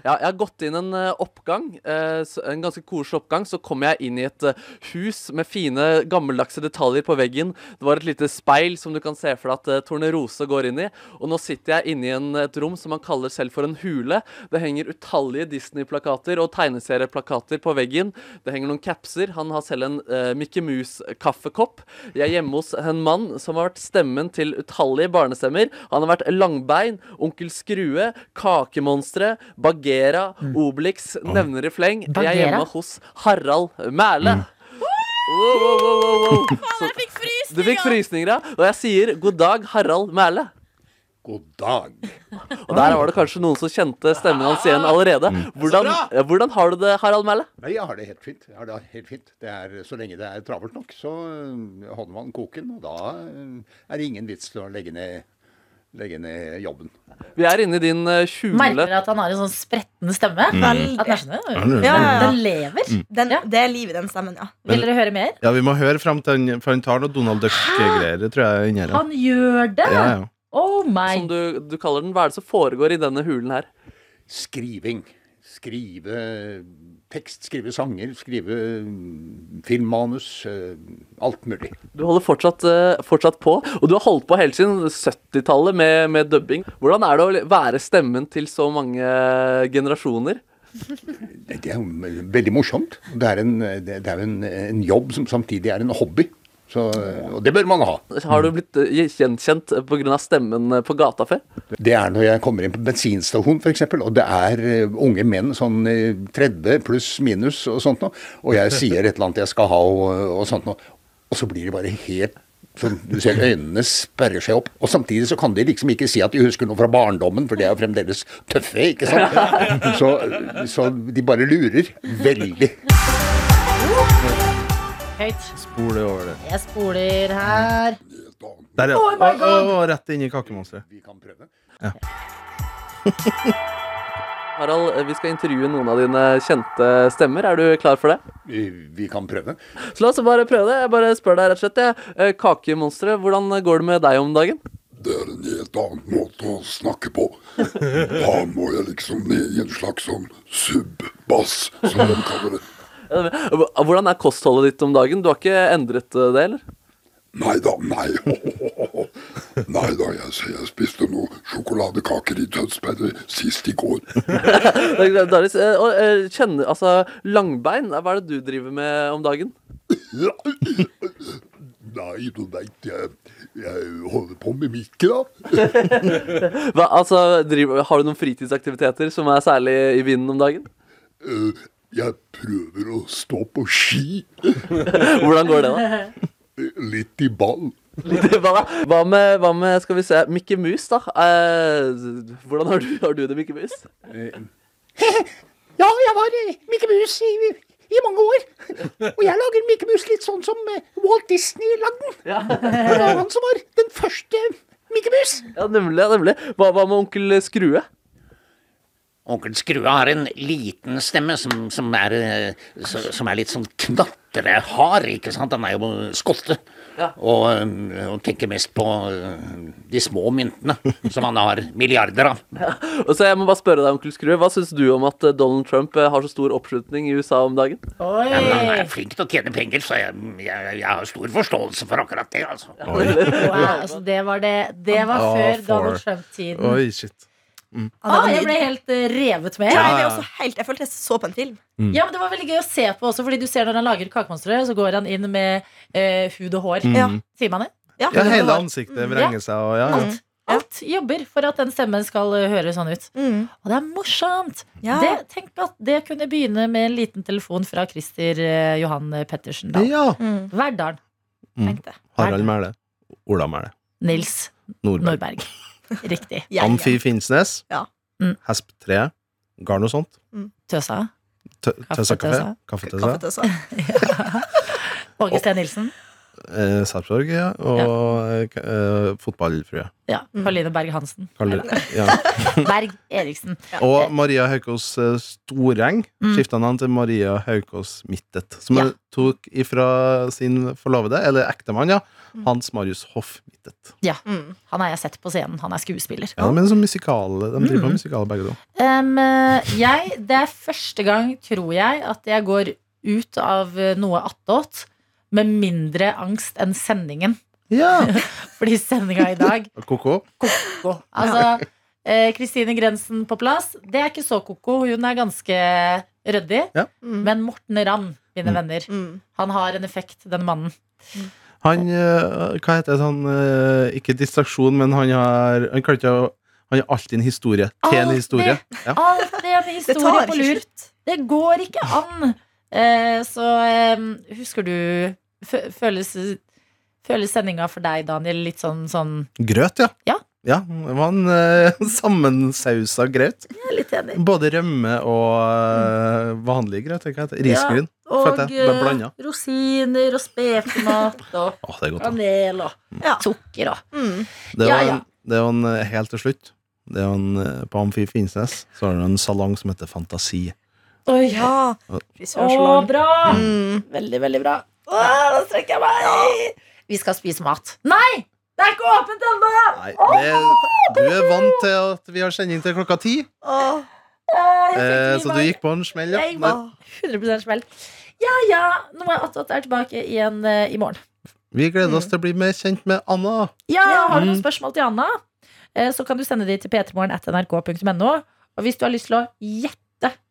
Speaker 10: Ja, jeg har gått inn en eh, oppgang, eh, s- en ganske koselig oppgang. Så kom jeg inn i et eh, hus med fine, gammeldagse detaljer på veggen. Det var et lite speil som du kan se for deg at eh, Tornerose går inn i. Og nå sitter jeg inne i en, et rom som man kaller selv for en hule. Det henger utallige Disney-plakater og tegneserieplakater på veggen. Det henger noen capser. Han har selv en eh, Mickey Mouse-kaffekopp. Jeg er hjemme hos en mann som har vært stemmen til utallige barnestemmer. Han har vært Langbein, Onkel Skrue, Kakemonstre, Bagheera, Obelix, nevner i fleng. Jeg er
Speaker 2: Bagheera?
Speaker 10: hjemme hos Harald Mæle. Wow, wow, wow, wow, wow. Så- Du fikk frysninger, ja. Og jeg sier god dag, Harald Mæle.
Speaker 9: God dag.
Speaker 10: Og der var det kanskje noen som kjente stemmen hans igjen allerede. Hvordan, hvordan har du det, Harald Mæle?
Speaker 9: Nei, jeg har det helt fint. Jeg har det helt fint. Det er, så lenge det er travelt nok, så øh, holder man koken. Og da øh, er det ingen vits til å legge ned, legge ned jobben.
Speaker 10: Vi er inne i din eh, kjule.
Speaker 2: Merker dere at han har en sånn spretten stemme?
Speaker 5: Veldig.
Speaker 2: At den, er sånn,
Speaker 3: Mm. Ja,
Speaker 5: Ja, ja,
Speaker 2: den
Speaker 5: ja.
Speaker 2: lever?
Speaker 3: Mm.
Speaker 5: Den,
Speaker 2: Ja.
Speaker 5: det er liv i den stemmen, ja.
Speaker 2: Vil dere høre mer?
Speaker 3: Ja, vi må høre frem til han For han tar noe Donald Duck-greier, det tror jeg. er Inni her.
Speaker 2: Han gjør det!
Speaker 3: Ja, ja.
Speaker 2: Oh
Speaker 10: Som
Speaker 2: my
Speaker 10: du, du kaller den. Hva er det som foregår i denne hulen her?
Speaker 9: Skriving. Skrive tekst, skrive sanger, skrive øh, filmmanus. øh, Alt mulig.
Speaker 10: Du holder fortsatt, eh, fortsatt på, og du har holdt på helt siden 70-tallet med, med dubbing. Hvordan er det å være stemmen til så mange generasjoner?
Speaker 9: Nei, Det er jo veldig morsomt. Det er en, det er jo en, en jobb som samtidig er en hobby. Så, og det bør man ha.
Speaker 10: Har du blitt eh, gjenkjent pga. stemmen eh, på gata før?
Speaker 9: Det er når jeg kommer inn på bensinstasjon f.eks., og det er eh, unge menn sånn eh, 30 pluss minus og sånt noe, og jeg sier et eller annet jeg skal ha og, og sånt noe, og så blir de bare helt sånn, Du ser øynene sperrer seg opp. Og samtidig så kan de liksom ikke si at de husker noe fra barndommen, for de er jo fremdeles tøffe, ikke sant? Så, så de bare lurer. Veldig.
Speaker 2: høyt.
Speaker 3: Spol det over det.
Speaker 2: Jeg spoler her.
Speaker 3: Der, ja.
Speaker 2: Oh my God.
Speaker 3: Å, å, rett inn i kakemonsteret.
Speaker 9: Vi kan prøve.
Speaker 10: Harald, eh, vi skal intervjue noen av dine kjente stemmer. Er du klar for det?
Speaker 9: Vi kan prøve.
Speaker 10: Så la oss bare prøve det. Jeg bare spør deg rett og slett. jeg. Eh, Kakemonstre, hvordan går det med deg om dagen?
Speaker 12: det er en helt annen måte å snakke på. Da må jeg liksom ned i en slags sånn sub-bass, som de kaller det.
Speaker 10: Eh, Hvordan er kostholdet ditt om dagen? Du har ikke endret eh, det, eller?
Speaker 12: Nei da, nei. (laughs) Nei da, jeg, ser jeg spiste noen sjokoladekaker i Tønsberg sist i går.
Speaker 10: Det er- det er litt- eh, og, eh, Kjenner, altså, langbein, hva er det du driver med om dagen?
Speaker 12: Nei, du veit, jeg, jeg holder på med mikke, da.
Speaker 10: Hva, altså, driver, har du noen fritidsaktiviteter som er særlig i vinden om dagen?
Speaker 12: Eh, Jeg prøver å stå på ski.
Speaker 10: (laughs) Hvordan går det, da?
Speaker 12: Litt i ball.
Speaker 10: Litt- Hva, hva, med, hva med, skal vi se, Mikke Mus, da? Eh, hvordan har du, har du det, Mikke Mus?
Speaker 13: Ja, jeg var eh, Mikke Mus i, i mange år. Og jeg lager Mikke Mus litt sånn som eh, Walt Disney lagde den. Det var han som var den første Mikke Mus.
Speaker 10: Ja, nemlig. ja, nemlig. Hva, hva med onkel Skrue?
Speaker 14: Onkel Skrue har en liten stemme som, som, er, eh, så- som er litt sånn knatrehard, ikke sant? Han er jo skotte. Og, eh, og tenker mest på eh, de små myntene, som han har milliarder av.
Speaker 10: Og så jeg må bare spørre deg, onkel Skrue, Hva syns du om at eh, Donald Trump eh, har så stor oppslutning i USA om dagen?
Speaker 14: Ja, men han er flink til å tjene penger, så jeg, jeg, jeg har stor forståelse for akkurat det, altså.
Speaker 2: Wow, altså det var, det, det var
Speaker 14: Ah,
Speaker 2: før
Speaker 14: for-
Speaker 2: Donald Trump-tiden.
Speaker 3: Oi, shit. Mm.
Speaker 2: Ah, jeg ble helt eh, revet med.
Speaker 3: Ja, ja, ja. Jeg ble også
Speaker 2: helt, jeg følte jeg så på en film.
Speaker 3: Mm.
Speaker 2: Ja, men Det var veldig gøy å se på også, Fordi du ser når han lager kakemonstre, så går han inn med eh, hud og hår.
Speaker 3: Mm. Ja.
Speaker 2: Sier man det?
Speaker 3: Ja,
Speaker 2: Hud og
Speaker 3: hele
Speaker 2: hår.
Speaker 3: ansiktet
Speaker 2: Mm.
Speaker 3: vrenger seg, og ja, ja.
Speaker 2: Alt, alt jobber for at den stemmen skal eh, høre sånn ut. Og det er morsomt!
Speaker 5: Mm. Ja.
Speaker 2: Det, tenk at det kunne begynne med en liten telefon fra Christer eh, Johan Pettersen. Dahl.
Speaker 3: Ja.
Speaker 2: Verdalen.
Speaker 3: Mm. Harald Mæhle. Ola Mæhle.
Speaker 2: Nils
Speaker 3: Nordberg.
Speaker 2: Nordberg. Riktig.
Speaker 3: Amfi Finnsnes.
Speaker 2: Ja. Mm.
Speaker 3: Hesp3. Garn og sånt.
Speaker 2: Tøsa.
Speaker 3: Tø- Tøssa kafé.
Speaker 2: Kaffetøsa.
Speaker 3: Kaffetøssa.
Speaker 2: Åge Steen Nilsen.
Speaker 3: Eh, Sarpsborg, ja. Og eh, fotballfrue.
Speaker 2: Ja. Karoline Berg Hansen.
Speaker 3: Kaller-
Speaker 2: (laughs)
Speaker 3: ja.
Speaker 2: Berg Eriksen.
Speaker 3: Og Maria Haukås eh, Storeng
Speaker 2: Mm.
Speaker 3: skifta navn til Maria Haukås Mittet. Som hun tok ifra sin forlovede, eller ektemann, ja.
Speaker 2: Mm.
Speaker 3: Hans Marius Hoff Mittet.
Speaker 2: Ja.
Speaker 5: Mm.
Speaker 2: Han har jeg sett på scenen. Han er skuespiller.
Speaker 3: Ja, men sånn musikal, De driver
Speaker 2: Mm.
Speaker 3: med musikal, begge to.
Speaker 2: Um, jeg, det er første gang, tror jeg, at jeg går ut av eh, noe attåt med mindre angst enn sendingen. (laughs) Fordi sendinga i dag
Speaker 3: (laughs) Ko-ko.
Speaker 2: ko-ko. Altså, eh, Kristine Grensen på plass, det er ikke så ko-ko. Hun er ganske ryddig.
Speaker 5: Mm.
Speaker 2: Men Morten Ramm,
Speaker 3: Mm.
Speaker 2: mine venner, han har en effekt, den mannen.
Speaker 3: Han eh, Hva heter det sånn eh, Ikke distraksjon, men han har Han kan ikke å- Han har alltid en historie til en historie. Ja.
Speaker 2: Alt (laughs) det med
Speaker 5: Det tar
Speaker 2: historie
Speaker 5: ikke
Speaker 2: på lur. Det går ikke an. Eh, så eh, husker du fø- Føles, føles sendinga for deg, Daniel, litt sånn, sånn
Speaker 3: Grøt, ja.
Speaker 2: Ja.
Speaker 3: det var en eh, (laughs) sammensausa grøt. Både rømme og eh, vanlig grøt. Hva heter det? Risgryn.
Speaker 2: Ja, og
Speaker 3: følte jeg. Det er blanda.
Speaker 2: eh, rosiner og spekemat
Speaker 3: (laughs)
Speaker 2: og
Speaker 3: det er godt, da.
Speaker 2: kanel og sukker og
Speaker 5: Mm.
Speaker 3: Det er
Speaker 2: ja,
Speaker 3: jo
Speaker 2: ja.
Speaker 3: en, det er jo en eh, helt til slutt. Det er jo en, eh, på Amfi Finnsnes så har du en salong som heter Fantasi.
Speaker 2: Oi,
Speaker 3: Og-
Speaker 2: Å, bra! Mm.
Speaker 5: Mm.
Speaker 2: Veldig, veldig bra. Å, nå strekker jeg meg! Vi skal spise mat. Nei! Det er ikke åpent ennå!
Speaker 3: Nei, det, du er vant til at vi har sending til klokka ti, eh, så du gikk på en smell.
Speaker 2: Jeg
Speaker 3: Der.
Speaker 2: var 100 smell. Ja ja, nå er Atte Atte er tilbake igjen eh, i morgen.
Speaker 3: Vi gleder
Speaker 2: Mm.
Speaker 3: oss til å bli mer kjent med Anna.
Speaker 2: Ja, Har du noen
Speaker 3: Mm.
Speaker 2: spørsmål til Anna, eh, så kan du sende de til p3morgen.nrk.no. Og hvis du har lyst til å gjette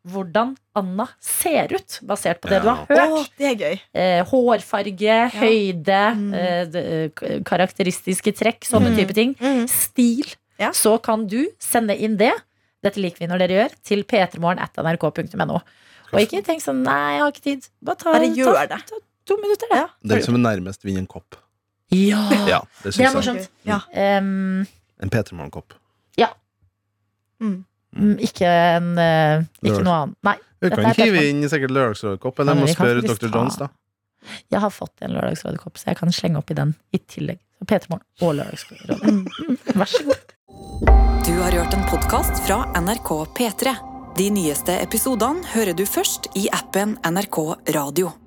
Speaker 2: hvordan Anna ser ut, basert på det du har hørt
Speaker 5: Å, det er gøy.
Speaker 2: eh, Hårfarge, høyde, eh, d- eh, k- karakteristiske trekk, sånne
Speaker 5: Mm.
Speaker 2: type ting. Stil. Så kan du sende inn det. Dette liker vi når dere gjør. Til p3morgen.nrk.no. Og ikke tenk sånn Nei, jeg har ikke tid. Bare, ta,
Speaker 5: Bare gjør
Speaker 2: ta, ta to minutter, det. liksom-
Speaker 3: Den som er nærmest, vinner en kopp.
Speaker 2: Ja,
Speaker 3: det
Speaker 2: det er
Speaker 3: syns jeg.
Speaker 2: morsomt. Em,
Speaker 3: En P3 Morgen-kopp.
Speaker 2: ja. Mm, Ikke en eh, Ikke
Speaker 3: Lørdag.
Speaker 2: noe annet. Nei.
Speaker 3: Du
Speaker 2: dette
Speaker 3: kan
Speaker 2: er
Speaker 3: hive
Speaker 2: Petra.
Speaker 3: inn sikkert lørdagsrådkopp,
Speaker 2: Ja,
Speaker 3: eller
Speaker 2: men
Speaker 3: jeg må
Speaker 2: vi kan
Speaker 3: spørre
Speaker 2: faktisk
Speaker 3: Dr.
Speaker 2: ta-
Speaker 3: Johns, da.
Speaker 2: Jeg har fått en lørdagsrådekopp, så jeg kan slenge oppi den i tillegg. Så P3morgen og lørdagsrådet. Vær så god.
Speaker 1: Du har hørt en podkast fra NRK P3. De nyeste episodene hører du først i appen NRK Radio.